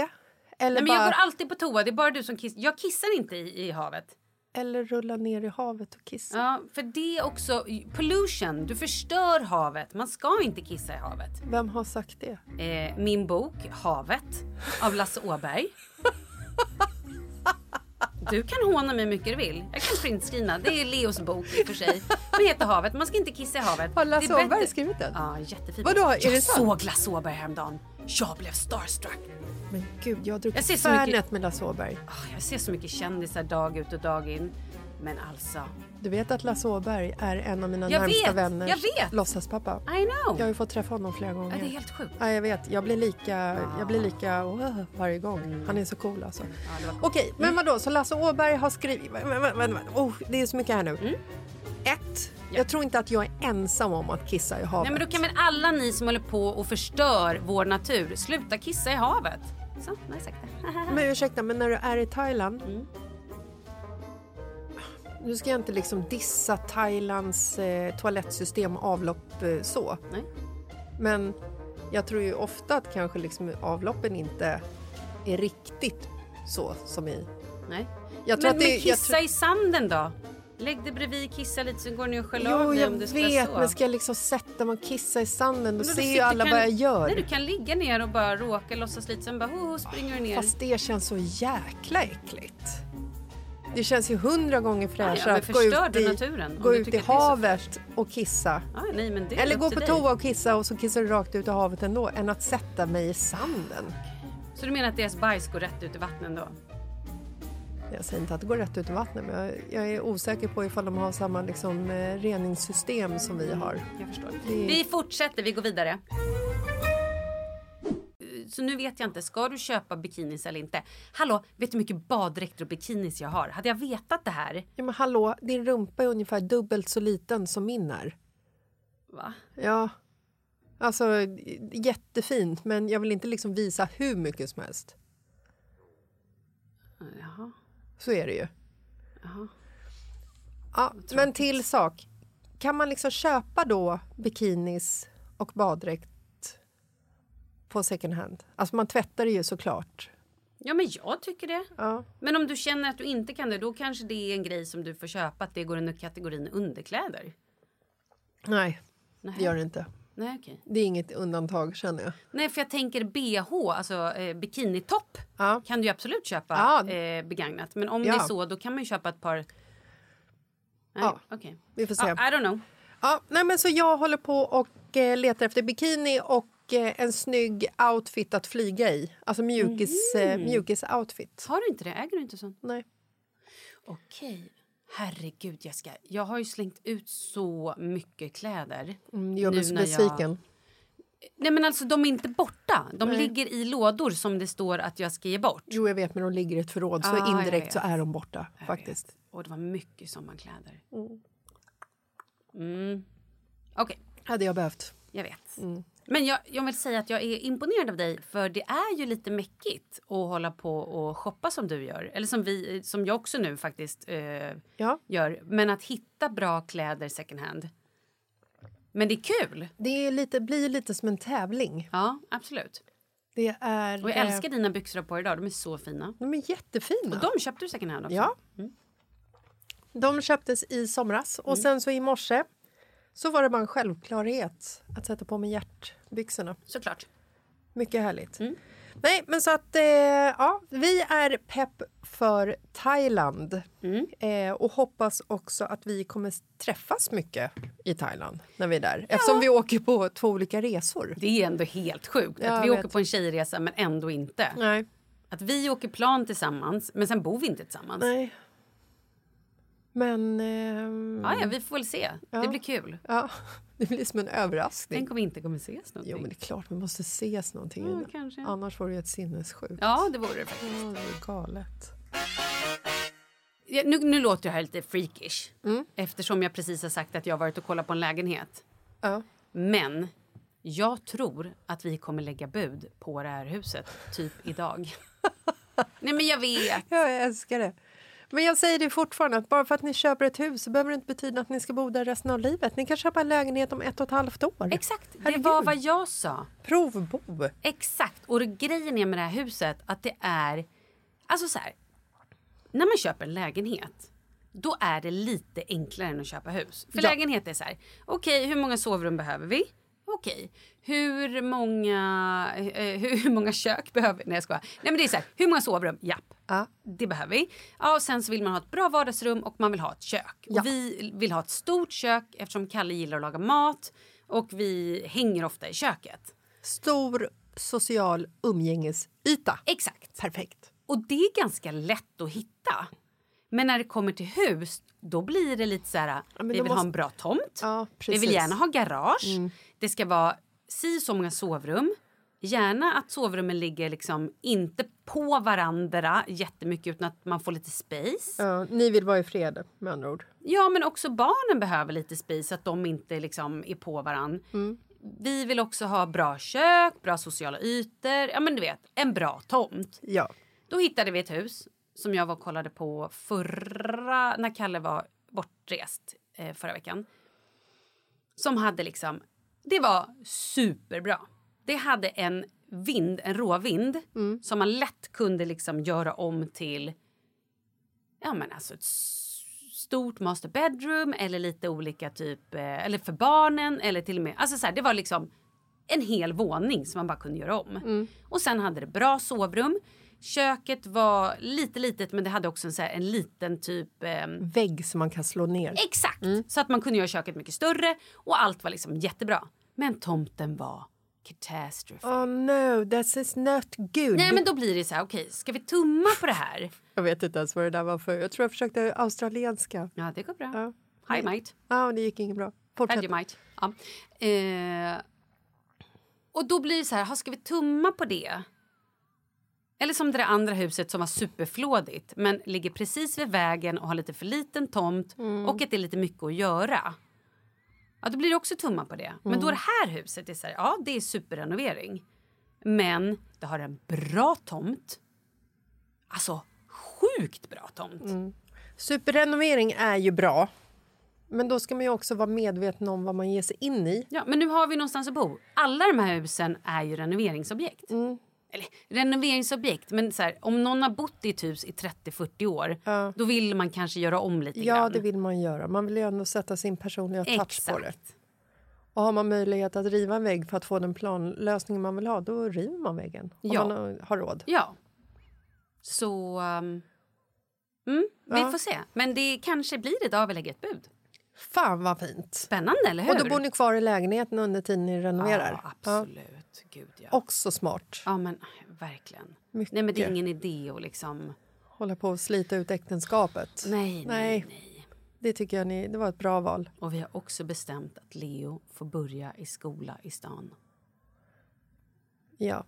eller
Mm. Nej, men
bara...
jag går alltid på toa. Det är bara du som kissar. Jag kissar inte i, i havet.
Eller rulla ner i havet och kissa.
Ja, för det är också pollution. Du förstör havet. Man ska inte kissa i havet.
Vem har sagt det?
Eh, min bok Havet av Lasse Åberg. Du kan håna mig hur mycket du vill. Jag kan printscreena. Det är Leos bok i och för sig. Den heter Havet. Man ska inte kissa i havet.
Har Lasse
Det är bättre-
Åberg skrivit den?
Ja, jättefin.
Vadå, är
jag
det sant?
såg Lasse Åberg häromdagen. Jag blev starstruck.
Men gud, jag har druckit
Jag ser så
Fernet
mycket-
med Lasse Åberg.
Ah, Jag ser så mycket kändisar dag ut och dag in. Men alltså,
Du vet att Lasse Åberg är en av mina
Jag
närmsta
vet,
vänner.
jag vet.
Låtsaspappa.
I know.
Jag har ju fått träffa honom flera gånger.
Ja, det är helt Ah. sjukt.
Ja, jag vet. Jag blir lika, jag blir lika "Wow" varje gång. Han är så cool alltså. Okej,
Mm.
men vadå? Så Lasse Åberg har skrivit... vä- vä- vä- vä- Oh, det är så mycket här nu.
Mm.
Ett. Jag tror inte att jag är ensam om att kissa i havet.
Nej, men då kan väl alla ni som håller på och förstör vår natur sluta kissa i havet? Så, nu har jag sagt det.
Men ursäkta, men när du är i Thailand...
Mm.
Nu ska jag inte liksom dissa Thailands eh, toalettsystem och avlopp eh, så.
Nej.
Men jag tror ju ofta att kanske liksom avloppen inte är riktigt så som i...
Nej.
Jag tror
men,
att det-
men
jag
kissa
tror-
i sanden då? Lägg dig bredvid, kissa lite, så går ni och sköljer
Jo,
av dig
jag
om det skulle
vet,
så.
men ska jag liksom sätta mig och kissa i sanden då
Men
ser ju
sitter-
alla
kan-
vad jag gör.
Nej, du kan ligga ner och bara råka låtsas lite, sen bara ho, ho, springer du ner.
Fast det känns så jäkla äckligt. Det känns ju hundra gånger
Ja,
fräschare
men
att gå ut
förstör du
i,
naturen om
gå
du
ut i
tycker att det är så
havet och kissa.
Ja, nej, men det är
Eller
upp
gå på
till dig.
toa och kissa och så kissar du rakt ut i havet ändå än att sätta mig i sanden.
Så du menar att deras bajs går rätt ut i vattnet då?
Jag säger inte att det går rätt ut i vattnet men jag, jag är osäker på ifall de har samma liksom, eh, reningssystem som vi har.
Jag förstår.
Det-
Vi fortsätter, vi går vidare. Så nu vet jag inte, ska du köpa bikinis eller inte? Hallå, vet du hur mycket baddräkter och bikinis jag har? Hade jag vetat det här?
Ja, men hallå, din rumpa är ungefär dubbelt så liten som min är.
Va?
Ja. Alltså, j- jättefint, men jag vill inte liksom visa hur mycket som helst.
Jaha.
Så är det ju.
Jaha.
Ja, men till sak. Kan man liksom köpa då bikinis och baddräkt på second hand? Alltså man tvättar det ju såklart.
Ja, men jag tycker det.
Ja.
Men om du känner att du inte kan det, då kanske det är en grej som du får köpa, att det går under kategorin underkläder.
Nej,
Nej.
det gör det inte.
Nej, okej.
Det är inget undantag känner jag.
Nej, för jag tänker bh, alltså eh, bikinitopp,
Ja.
kan du ju absolut köpa
Ja.
eh, begagnat. Men om
Ja.
det är så, då kan man ju köpa ett par... Nej,
Ja.
okej.
Vi får se.
Ja, I don't know.
Ja, nej men så jag håller på och eh, letar efter bikini och eh, en snygg outfit att flyga i. Alltså mjukis,
Mhm.
eh, mjukis-outfit.
Har du inte det? Äger du inte sånt?
Nej.
Okej. Herregud, Jessica. Jag har ju slängt ut så mycket kläder.
Mm, jag blir
nu
så
när jag-
besviken.
Nej, men alltså, de är inte borta. De
Nej.
ligger i lådor som det står att jag ska ge bort.
Jo, jag vet, men de ligger i ett förråd, så
Ah, jag
indirekt
vet.
så är de borta. faktiskt.
Och det var mycket sommarkläder. Mm. Okej,
Hade jag behövt.
jag vet.
Mm.
Men jag, jag vill säga att jag är imponerad av dig för det är ju lite mäckigt att hålla på och shoppa som du gör. Eller som, vi, som jag också nu faktiskt eh,
Ja.
gör. Men att hitta bra kläder second hand. Men det är kul.
Det är lite, blir lite som en tävling.
Ja, absolut.
Det är...
Och jag
eh,
älskar dina byxor du har på dig idag. De är så fina.
De är jättefina.
Och de alltså. Mm. köpte du second hand också.
Ja. De köptes i somras och
Mm.
sen så i morse så var det bara en självklarhet att sätta på mig hjärtbyxorna.
Såklart.
Mycket härligt.
Mm.
Nej, men så att eh, ja, vi är pepp för Thailand
Mm.
eh, och hoppas också att vi kommer träffas mycket i Thailand när vi är där eftersom vi åker på två olika resor.
Det är ändå helt sjukt
Ja,
att vi
jag
åker
vet.
på en tjejresa men ändå inte.
Nej,
Att vi åker plan tillsammans men sen bor vi inte tillsammans.
nej. Men ehm,
Ja, ja, vi får väl se. Det
Ja.
blir kul.
ja, det blir som en överraskning.
Tänk om vi inte kommer ses någonting.
Jo, men det är klart vi måste ses någonting.
Ja,
innan.
kanske.
Annars vore det ett sinnessjukt.
Ja, det vore det faktiskt.
Ja, det är galet.
Ja, nu, nu låter jag här lite freakish
Mm.
eftersom jag precis har sagt att jag har varit och kollat på en lägenhet. Men jag tror att vi kommer lägga bud på det här huset typ idag. Nej men jag vet.
Ja, jag älskar det. Men jag säger det fortfarande att bara för att ni köper ett hus så behöver det inte betyda att ni ska bo där resten av livet. Ni kan köpa en lägenhet om ett och ett halvt år.
Exakt, det var vad jag sa.
Provbo.
Exakt. Och grejen är med det här huset att det är... Alltså så här. När man köper en lägenhet då är det lite enklare än att köpa hus. För
Ja.
lägenhet är så här. Okej, hur många sovrum behöver vi? Okej, hur många, eh, hur många kök behöver vi? Nej, jag skojar. Nej, men det är så här. Hur många sovrum? Japp, det behöver vi. Ja, och sen så vill man ha ett bra vardagsrum och man vill ha ett kök. Och vi vill ha ett stort kök eftersom Kalle gillar att laga mat och vi hänger ofta i köket.
Stor social umgängesyta.
Exakt.
Perfekt.
Och det är ganska lätt att hitta. Men när det kommer till hus, då blir det lite så här... vi
då
vill ha
måste-
en bra tomt. vi
precis. Mm.
vill gärna ha garage. Det ska vara si så många sovrum. Gärna att sovrummen ligger liksom inte på varandra jättemycket utan att man får lite space.
Ja, ni vill vara i fred med andra ord.
Ja, men också barnen behöver lite space så att de inte liksom är på varann.
Mm.
Vi vill också ha bra kök, bra sociala ytor, ja men du vet, en bra tomt.
Ja.
Då hittade vi ett hus som jag var och kollade på förra, när Kalle var bortrest eh, förra veckan. Som hade liksom, det var superbra. Det hade en vind, en råvind som man lätt kunde liksom göra om till ja men alltså ett s- stort master bedroom eller lite olika typ, eh, eller för barnen eller till och med, alltså så här, det var liksom en hel våning som man bara kunde göra om. Och sen hade det bra sovrum. Köket var lite litet men det hade också en, så här, en liten typ... ehm,
Vägg som man kan slå ner.
Exakt!
Mm.
Så att man kunde göra köket mycket större och allt var liksom jättebra. Men tomten var katastrof.
Oh no, this is not good.
Nej men då blir det så här, okej ska vi tumma på det här?
Jag vet inte ens vad det där var för. Jag tror jag försökte australienska.
Ja det går bra.
Ja.
Hi mate.
Ja, och det gick inget bra. Fortsätt.
Vegemite. Ja. Eh, och då blir det så här, ha, ska vi tumma på det? Eller som det där andra huset som var superflådigt men ligger precis vid vägen och har lite för liten tomt och att det är lite mycket att göra. Ja, då blir det också tumma på det. Men då det här huset är så här, ja det är superrenovering. Men det har en bra tomt. Alltså sjukt bra tomt.
Superrenovering är ju bra. Men då ska man ju också vara medveten om vad man ger sig in i.
Ja, men nu har vi någonstans att bo. Alla de här husen är ju renoveringsobjekt.
Mm.
Eller renoveringsobjekt, men så här, om någon har bott i ett hus i 30-40 år då vill man kanske göra om lite
Ja,
grann.
det vill man göra. Man vill ju ändå sätta sin personliga touch på det.
Exakt.
Och har man möjlighet att riva en vägg för att få den planlösning man vill ha, då river man väggen. Om
Ja.
man har- har råd.
Ja. Så... Um, mm,
Ja.
Vi får se. Men det kanske blir idag vi lägger ett bud.
Fan vad fint!
Spännande, eller hur?
Och då bor ni kvar i lägenheten under tiden ni renoverar.
Ja, absolut. Gud, ja.
Också smart.
Ja, men verkligen.
Mycket.
Nej, men det är ingen idé att liksom...
Hålla på och slita ut äktenskapet.
Nej, nej,
Det tycker jag ni, det var ett bra val.
Och vi har också bestämt att Leo får börja i skola i stan.
Ja.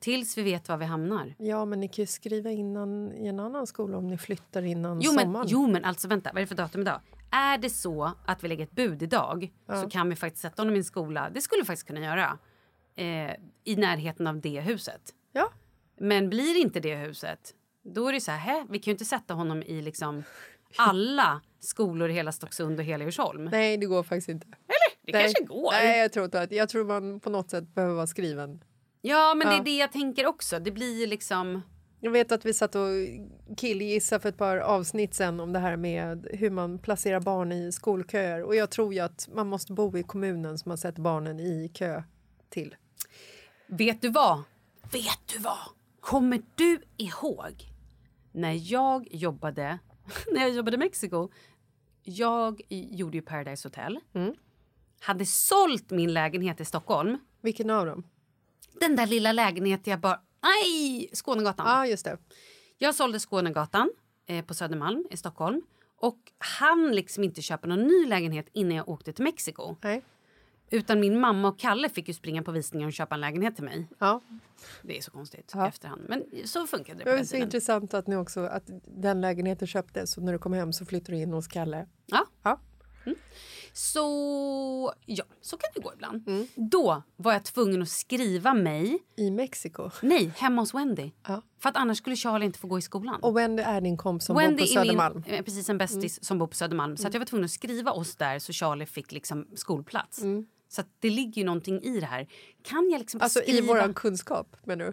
Tills vi vet var vi hamnar.
ja, men ni kan ju skriva innan i en annan skola om ni flyttar innan
Jo men,
sommaren.
jo men alltså vänta, vad är det för datum idag? Är det så att vi lägger ett bud idag så kan vi faktiskt sätta honom i en skola, det skulle vi faktiskt kunna göra, eh, i närheten av det huset.
Ja.
Men blir inte det huset, då är det så här, hä, vi kan ju inte sätta honom i liksom alla skolor i hela Stocksund och hela Djursholm.
Nej, det går faktiskt inte.
Eller? Det
Nej.
kanske går.
Nej, jag tror inte att, jag tror man på något sätt behöver vara skriven.
Ja men det
Ja.
är det jag tänker också, det blir ju liksom...
Jag vet att vi satt och killgissade för ett par avsnitt sen om det här med hur man placerar barn i skolköer. Och jag tror ju att man måste bo i kommunen som man sätter barnen i kö till.
Vet du vad? Vet du vad? Kommer du ihåg när jag jobbade när jag jobbade i Mexiko? Jag gjorde ju Paradise Hotel. Hade sålt min lägenhet i Stockholm.
Vilken av dem?
Den där lilla lägenheten jag bara... Aj! Skånegatan.
Ja, ah, just det.
Jag sålde Skånegatan eh, på Södermalm i Stockholm. Och han liksom inte köpa någon ny lägenhet innan jag åkte till Mexiko.
Nej.
Utan min mamma och Kalle fick ju springa på visningar och köpa en lägenhet till mig.
Ja.
Det är så konstigt
Ja.
i efterhand. Men så funkade
Det
det på
var
den
ju så
tiden.
intressant att ni också att den lägenheten köptes och när du kom hem så flyttade du in hos Kalle.
Ja.
ja.
Så ja, så kan det gå ibland.
Mm.
Då var jag tvungen att skriva mig...
I Mexiko?
Nej, hemma hos Wendy. För att annars skulle Charlie inte få gå i skolan.
Och Wendy är din kompis som bor på
är min-
Södermalm.
eh, precis, en bästis
Mm.
som bor på Södermalm. Så att jag var tvungen att skriva oss där så Charlie fick liksom skolplats. Så att det ligger ju någonting i det här. Kan jag liksom
Mm. Alltså
skriva...
i våran kunskap menar du?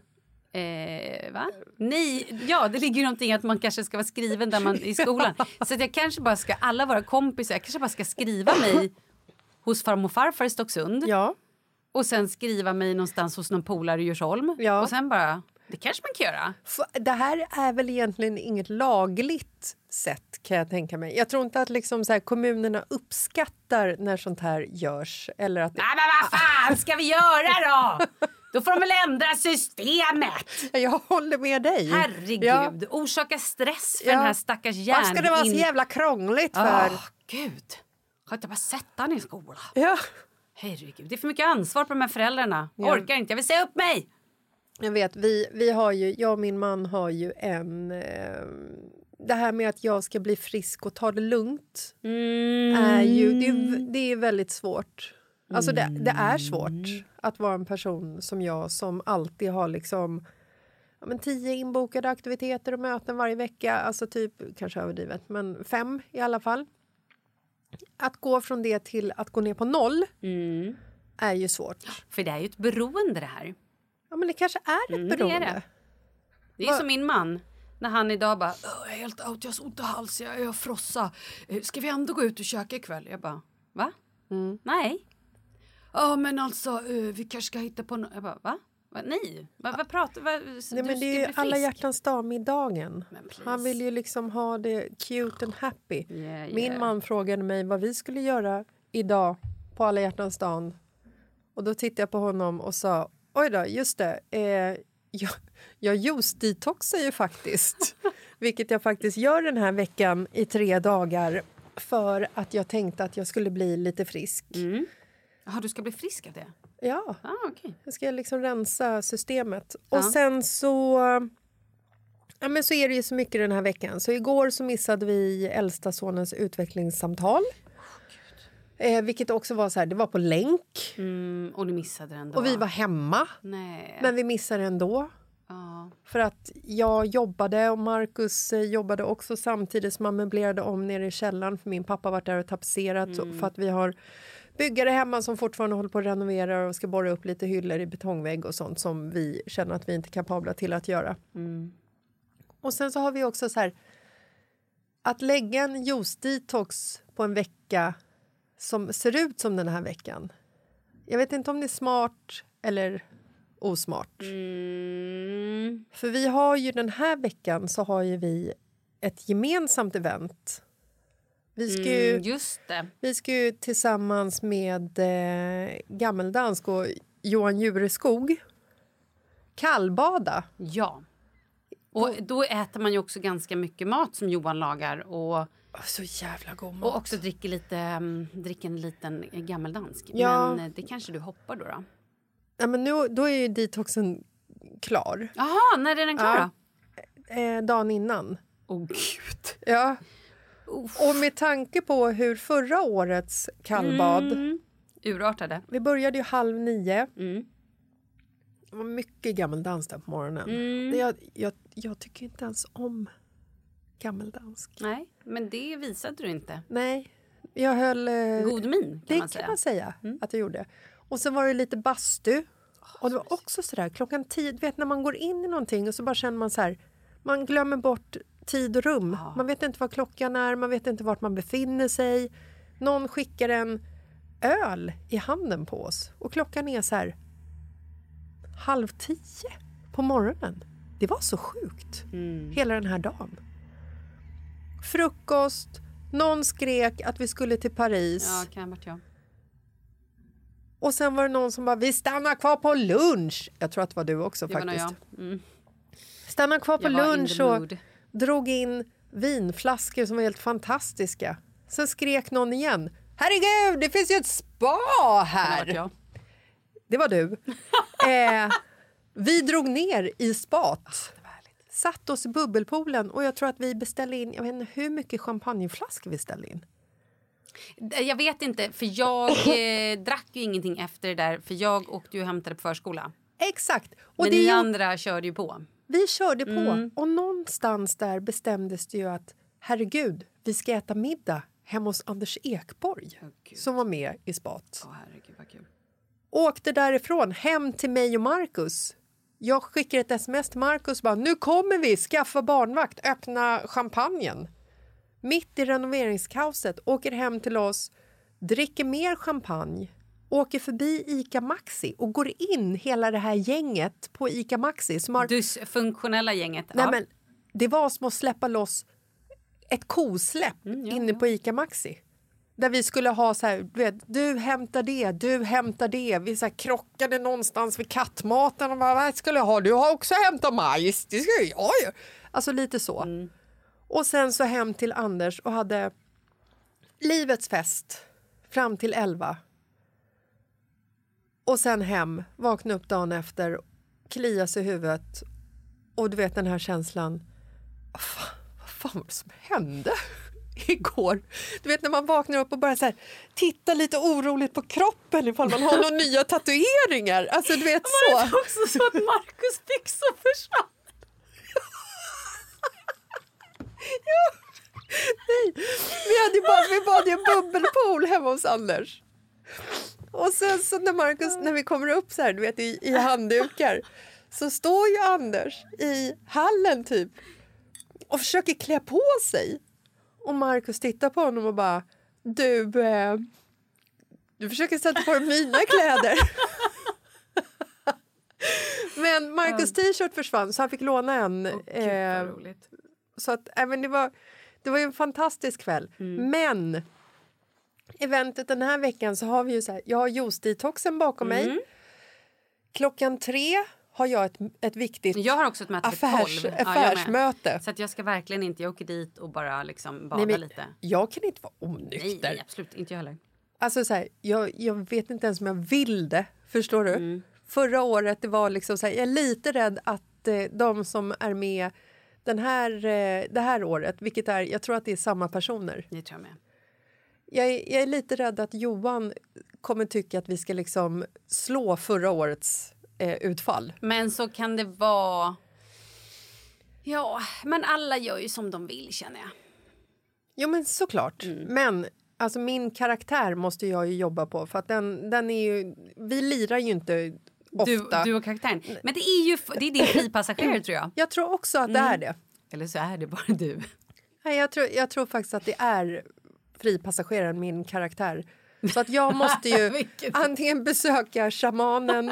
Eh, va? Nej, ja, det ligger ju någonting i att man kanske ska vara skriven där man, i skolan. Så att jag kanske bara ska, alla våra kompisar, jag kanske bara ska skriva mig hos farmor och farfar i Stocksund. Och sen skriva mig någonstans hos någon polare i Djursholm. Och sen bara, det kanske man kan göra.
F- Det här är väl egentligen inget lagligt sätt kan jag tänka mig. Jag tror inte att liksom så här, kommunerna uppskattar när sånt här görs. Eller att...
Nej men vad fan ska vi göra då? Då får de väl ändra systemet.
Jag håller med dig.
Ah. Herregud,
Mm. Ja.
orsaka stress för
Ja.
den här stackars Ah. hjärnan.
Vad ska det vara så jävla krångligt för?
Gud, har inte bara sett han i skolan?
Ja.
Herregud, det är för mycket ansvar på de här föräldrarna.
Ja.
Orkar inte, jag vill säga upp mig!
Jag vet, vi, vi har ju, jag och min man har ju en... Eh, det här med att jag ska bli frisk och ta det lugnt är ju, det, är
Mm.
v- det är väldigt svårt. Alltså det, det är svårt att vara en person som jag som alltid har liksom ja, men tio inbokade aktiviteter och möten varje vecka. Alltså typ, kanske överdrivet, men fem i alla fall. Att gå från det till att gå ner på noll
Mm.
är ju svårt.
För det är ju ett beroende det här.
Ja, men det kanske är ett
Mm, det är
beroende.
det. Det är som min man. När han idag bara "Åh, “jag är helt out, jag har så ont i halsen, jag, jag frossa. Eh, Ska vi ändå gå ut och käka ikväll?” Jag bara “va? Nej?” Mm. “Ja men alltså eh, vi kanske ska hitta på något.” Jag bara “va? va? Nej, va, vad pratar va,
Nej, men det är ju alla hjärtans dag-middagen. Han vill ju liksom ha det cute and happy. Min
yeah.
man frågade mig vad vi skulle göra idag på alla hjärtans dag. Och då tittade jag på honom och sa oj då, just det. Eh, jag, jag juice-detoxar ju faktiskt. Vilket jag faktiskt gör den här veckan i tre dagar för att jag tänkte att jag skulle bli lite frisk.
Mm. Jaha, du ska bli frisk av det?
Ja.
Ah, okay.
Jag ska liksom rensa systemet. Och
Ja.
sen så... Ja, men så är det ju så mycket den här veckan. Så igår så missade vi äldsta sonens utvecklingssamtal. eh, vilket också var så här, det var på länk.
Mm, och ni missade den då?
Och vi var hemma.
Nej.
Men vi missade ändå.
Ja.
För att jag jobbade och Marcus eh, jobbade också samtidigt som han möblerade om nere i källaren för min pappa var där och tapetserat
Mm.
och för att vi har byggare hemma som fortfarande håller på att renovera och ska borra upp lite hyllor i betongvägg och sånt som vi känner att vi inte är kapabla till att göra.
Mm.
Och sen så har vi också så här att lägga en juice-detox på en vecka som ser ut som den här veckan. Jag vet inte om det är smart eller osmart.
Mm.
För vi har ju den här veckan så har ju vi ett gemensamt event. Vi ska ju,
Mm, just det.
vi ska ju tillsammans med eh, Gammeldansk och Johan Jureskog kallbada.
Ja. Och då äter man ju också ganska mycket mat som Johan lagar. Och,
så jävla god mat.
Och också dricker, lite, mm, dricker en liten eh, gammeldansk.
Ja.
Men eh, det kanske du hoppar då? då.
Ja, men nu, då är ju detoxen klar.
Jaha, när är den klar då?
Eh, dagen innan.
Åh gud.
Ja. Och med tanke på hur förra årets kallbad...
Mm. Urartade.
Vi började ju halv nio.
Mm.
Det var mycket gammeldans där på morgonen.
Mm.
Jag, jag, jag tycker inte ens om gammeldansk.
Nej, men det visade du inte.
Nej, jag höll... eh,
God min, kan
det
man
kan
säga. Mm.
man säga att jag gjorde. Och sen var det lite bastu. Och det var också sådär, klockan tio, du vet när man går in i någonting och så bara känner man så här, man glömmer bort tid och rum. Man vet inte vad klockan är, man vet inte vart man befinner sig. Någon skickar en öl i handen på oss och klockan är så här halv tio på morgonen. Det var så sjukt,
Mm.
hela den här dagen. Frukost, någon skrek att vi skulle till Paris.
Ja, kan ha varit jag.
Och sen var det någon som bara, vi stannar kvar på lunch. Jag tror att det var du också
Det var nog
faktiskt.
jag. Mm.
Stannar kvar på
Jag var in
lunch
the
och
mood.
drog in vinflaskor som var helt fantastiska. Sen skrek någon igen, Herregud, det finns ju ett spa här! Det var, du. eh, vi drog ner i spat.
Ah,
Satt oss i bubbelpoolen och jag tror att vi beställde in, jag vet inte hur mycket champagneflaskor vi ställde in.
D- Eh, Jag vet inte, för jag eh, drack ju ingenting efter det där för jag åkte ju och hämtade på förskola.
Exakt. Och
Men
det
ni
gjorde-
andra körde ju på.
Vi körde på
Mm.
och någonstans där bestämdes det ju att herregud, vi ska äta middag hemma hos Anders Ekborg som var med i spat. Åkte därifrån hem till mig och Marcus. Jag skickar ett sms till Marcus bara nu kommer vi, skaffa barnvakt, öppna champagnen. Mitt i renoveringskaoset, åker hem till oss, dricker mer champagne, åker förbi ICA Maxi och går in hela det här gänget på ICA Maxi som har
Dysfunktionella gänget.
Nej,
ja.
men det var som att släppa loss ett kosläpp inne på Ica Maxi. Där vi skulle ha så här, du, vet, du hämtar det, du hämtar det. Vi så här krockade någonstans vid kattmaten och bara, vad skulle jag ha? Du har också hämtat majs, det ska jag ju. Alltså lite så. Och sen så hem till Anders och hade livets fest fram till elva. Och sen hem, vakna upp dagen efter, klia sig i huvudet och du vet den här känslan. "Fan, Vad fan var det som hände igår? Du vet när man vaknar upp och bara så här, titta lite oroligt på kroppen ifall man har några nya tatueringar. Alltså du vet så.
Var det också så att Markus fick så försvann?
ja. Nej, vi hade ju bara, vi bad i en bubbelpool hemma hos Anders. Och sen så när Markus, när vi kommer upp så här, du vet i, i handdukar, så står ju Anders i hallen typ och försöker klä på sig. Och Markus tittar på honom och bara, du, eh, du försöker sätta på dig mina kläder. Men Markus t-shirt försvann så han fick låna en. eh, så att, äh, men det, var, det var ju en fantastisk kväll.
Mm.
Men eventet den här veckan så har vi ju så här, jag har juice-detoxen bakom
Mm.
mig. Klockan tre har jag ett, ett viktigt
Jag har också ett möte
affärs,
vid 12. Ja, jag med.
affärsmöte.
Så att jag ska verkligen inte, jag åker dit och bara liksom bada
Nej, men
lite.
Jag kan inte vara
Nej,
onykter.
nej, absolut inte jag heller.
Alltså så här, jag, jag vet inte ens om jag vill det. Förstår du?
Mm.
Förra året det var liksom så här, jag är lite rädd att eh, de som är med den här, eh, det här året, vilket är, jag tror att det är samma personer.
Det tror jag med.
Jag är, jag är lite rädd att Johan kommer tycka att vi ska liksom slå förra årets eh, utfall.
Men så kan det vara... Ja, men alla gör ju som de vill känner jag.
Jo, men såklart. Men alltså, min karaktär måste jag ju jobba på. För att den, den är ju, vi lirar ju inte
Du,
ofta.
du och karaktären. Men det är ju f- det är din fripassagerare tror jag.
Jag tror också att det är det.
Eller så är det bara du.
Nej, jag, tror, jag tror faktiskt att det är fripassageraren, min karaktär. Så att jag måste ju antingen besöka shamanen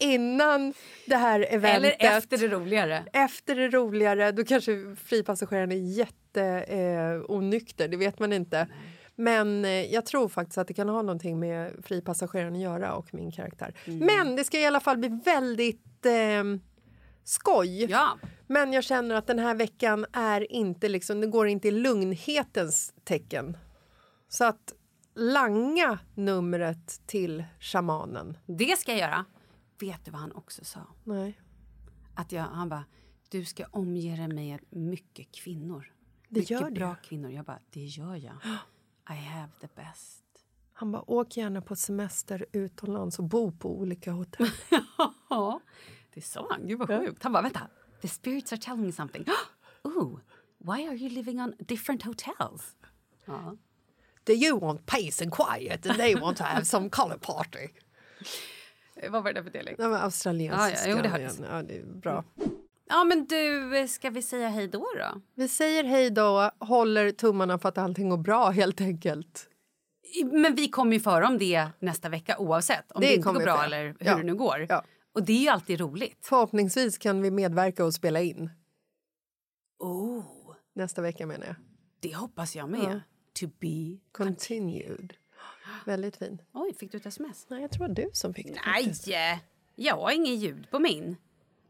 innan det här
Eller
eventet.
efter det roligare.
Efter det roligare, då kanske fripassageraren är jätte, eh, onykter, det vet man inte. Men eh, jag tror faktiskt att det kan ha någonting med fripassageraren att göra och min karaktär. Men det ska i alla fall bli väldigt eh, skoj. Men jag känner att den här veckan är inte liksom, det går inte i lugnhetens tecken. Så att langa numret till shamanen.
Det ska jag göra. Vet du vad han också sa?
Nej.
Att jag, han bara, du ska omge dig med mycket kvinnor.
Det
mycket
gör du.
bra kvinnor. Jag bara, det gör jag. I have the best.
Han bara, åk gärna på semester utomlands och bo på olika hotell.
Ja, det sa han. Gud vad sjukt. Han bara, vänta. The spirits are telling me something. Ooh, why are you living on different hotels? Ja.
Do you want peace and quiet and they want to have some color party? Eh,
Vad var det för dialekt?
Nej, men australiensiska.
Ja, ja, jo, det
igen.
hördes.
ja, det är bra.
Ja, men du, eh, ska vi säga hej då då?
Vi säger hej då, håller tummarna för att allting går bra helt enkelt.
I- Men vi kommer ju föra om det nästa vecka oavsett om
Det
det, inte
kommer
går
vi
bra
föra.
eller hur
Ja.
det nu går.
Ja.
Och det är ju alltid roligt.
Förhoppningsvis kan vi medverka och spela in.
Oh,
Nästa vecka menar jag.
det hoppas jag med.
Ja.
To be...
Continued. Väldigt fin.
Oj, fick du ett sms?
Nej, jag tror det var du som fick det.
Nej! eh, Jag har ingen ljud på min.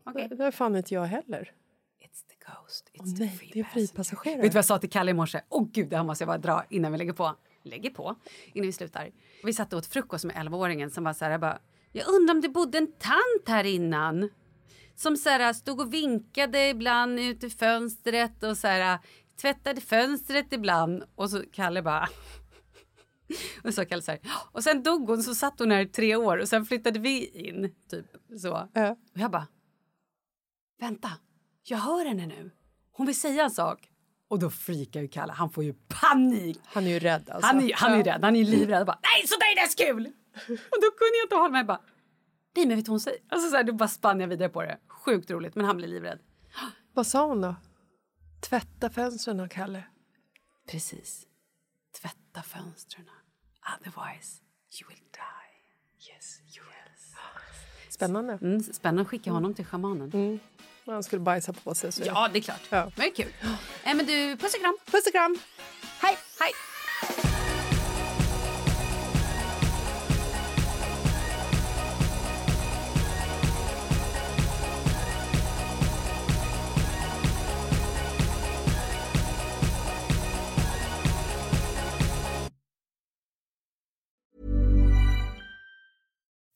Okej.
Det var fan inte jag heller.
It's the ghost. It's
Åh nej, det är fripassagerare.
Vet du vad jag sa till Kalle i morse? Åh gud, det här måste jag bara dra innan vi lägger på. lägger på innan vi slutar. Vi satt och åt frukost med 11-åringen som var så här, jag bara, jag undrar om det bodde en tant här innan. Som så här, stod och vinkade ibland ut i fönstret och så här, tvättade fönstret ibland. Och så Kalle bara, och så Kalle så här, och sen dog hon så satt hon här i tre år och sen flyttade vi in, typ så. Och jag bara, vänta, jag hör henne nu. Hon vill säga en sak. Och då frikar ju Kalle, han får ju panik.
Han är ju rädd alltså.
Han är, han är ju rädd, han är ju livrädd. Jag Bara, Nej, så där är det kul! Och då kunde jag inte hålla mig. Jag Bara, Nej, men vet du vad hon säger? Alltså så här, då bara spann jag vidare på det. Sjukt roligt, men han blir livrädd.
Vad sa hon då? Tvätta fönstren, Kalle.
Precis. Tvätta fönstren. Otherwise you will die. Yes, you will.
Spännande.
Mm, spännande att skicka honom till schamanen.
Han skulle bajsa på sig. Så
Mm. Ja, det är klart. Men det är kul. Äh, men du, puss och kram.
Puss och kram. Hej!
Hej!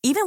Even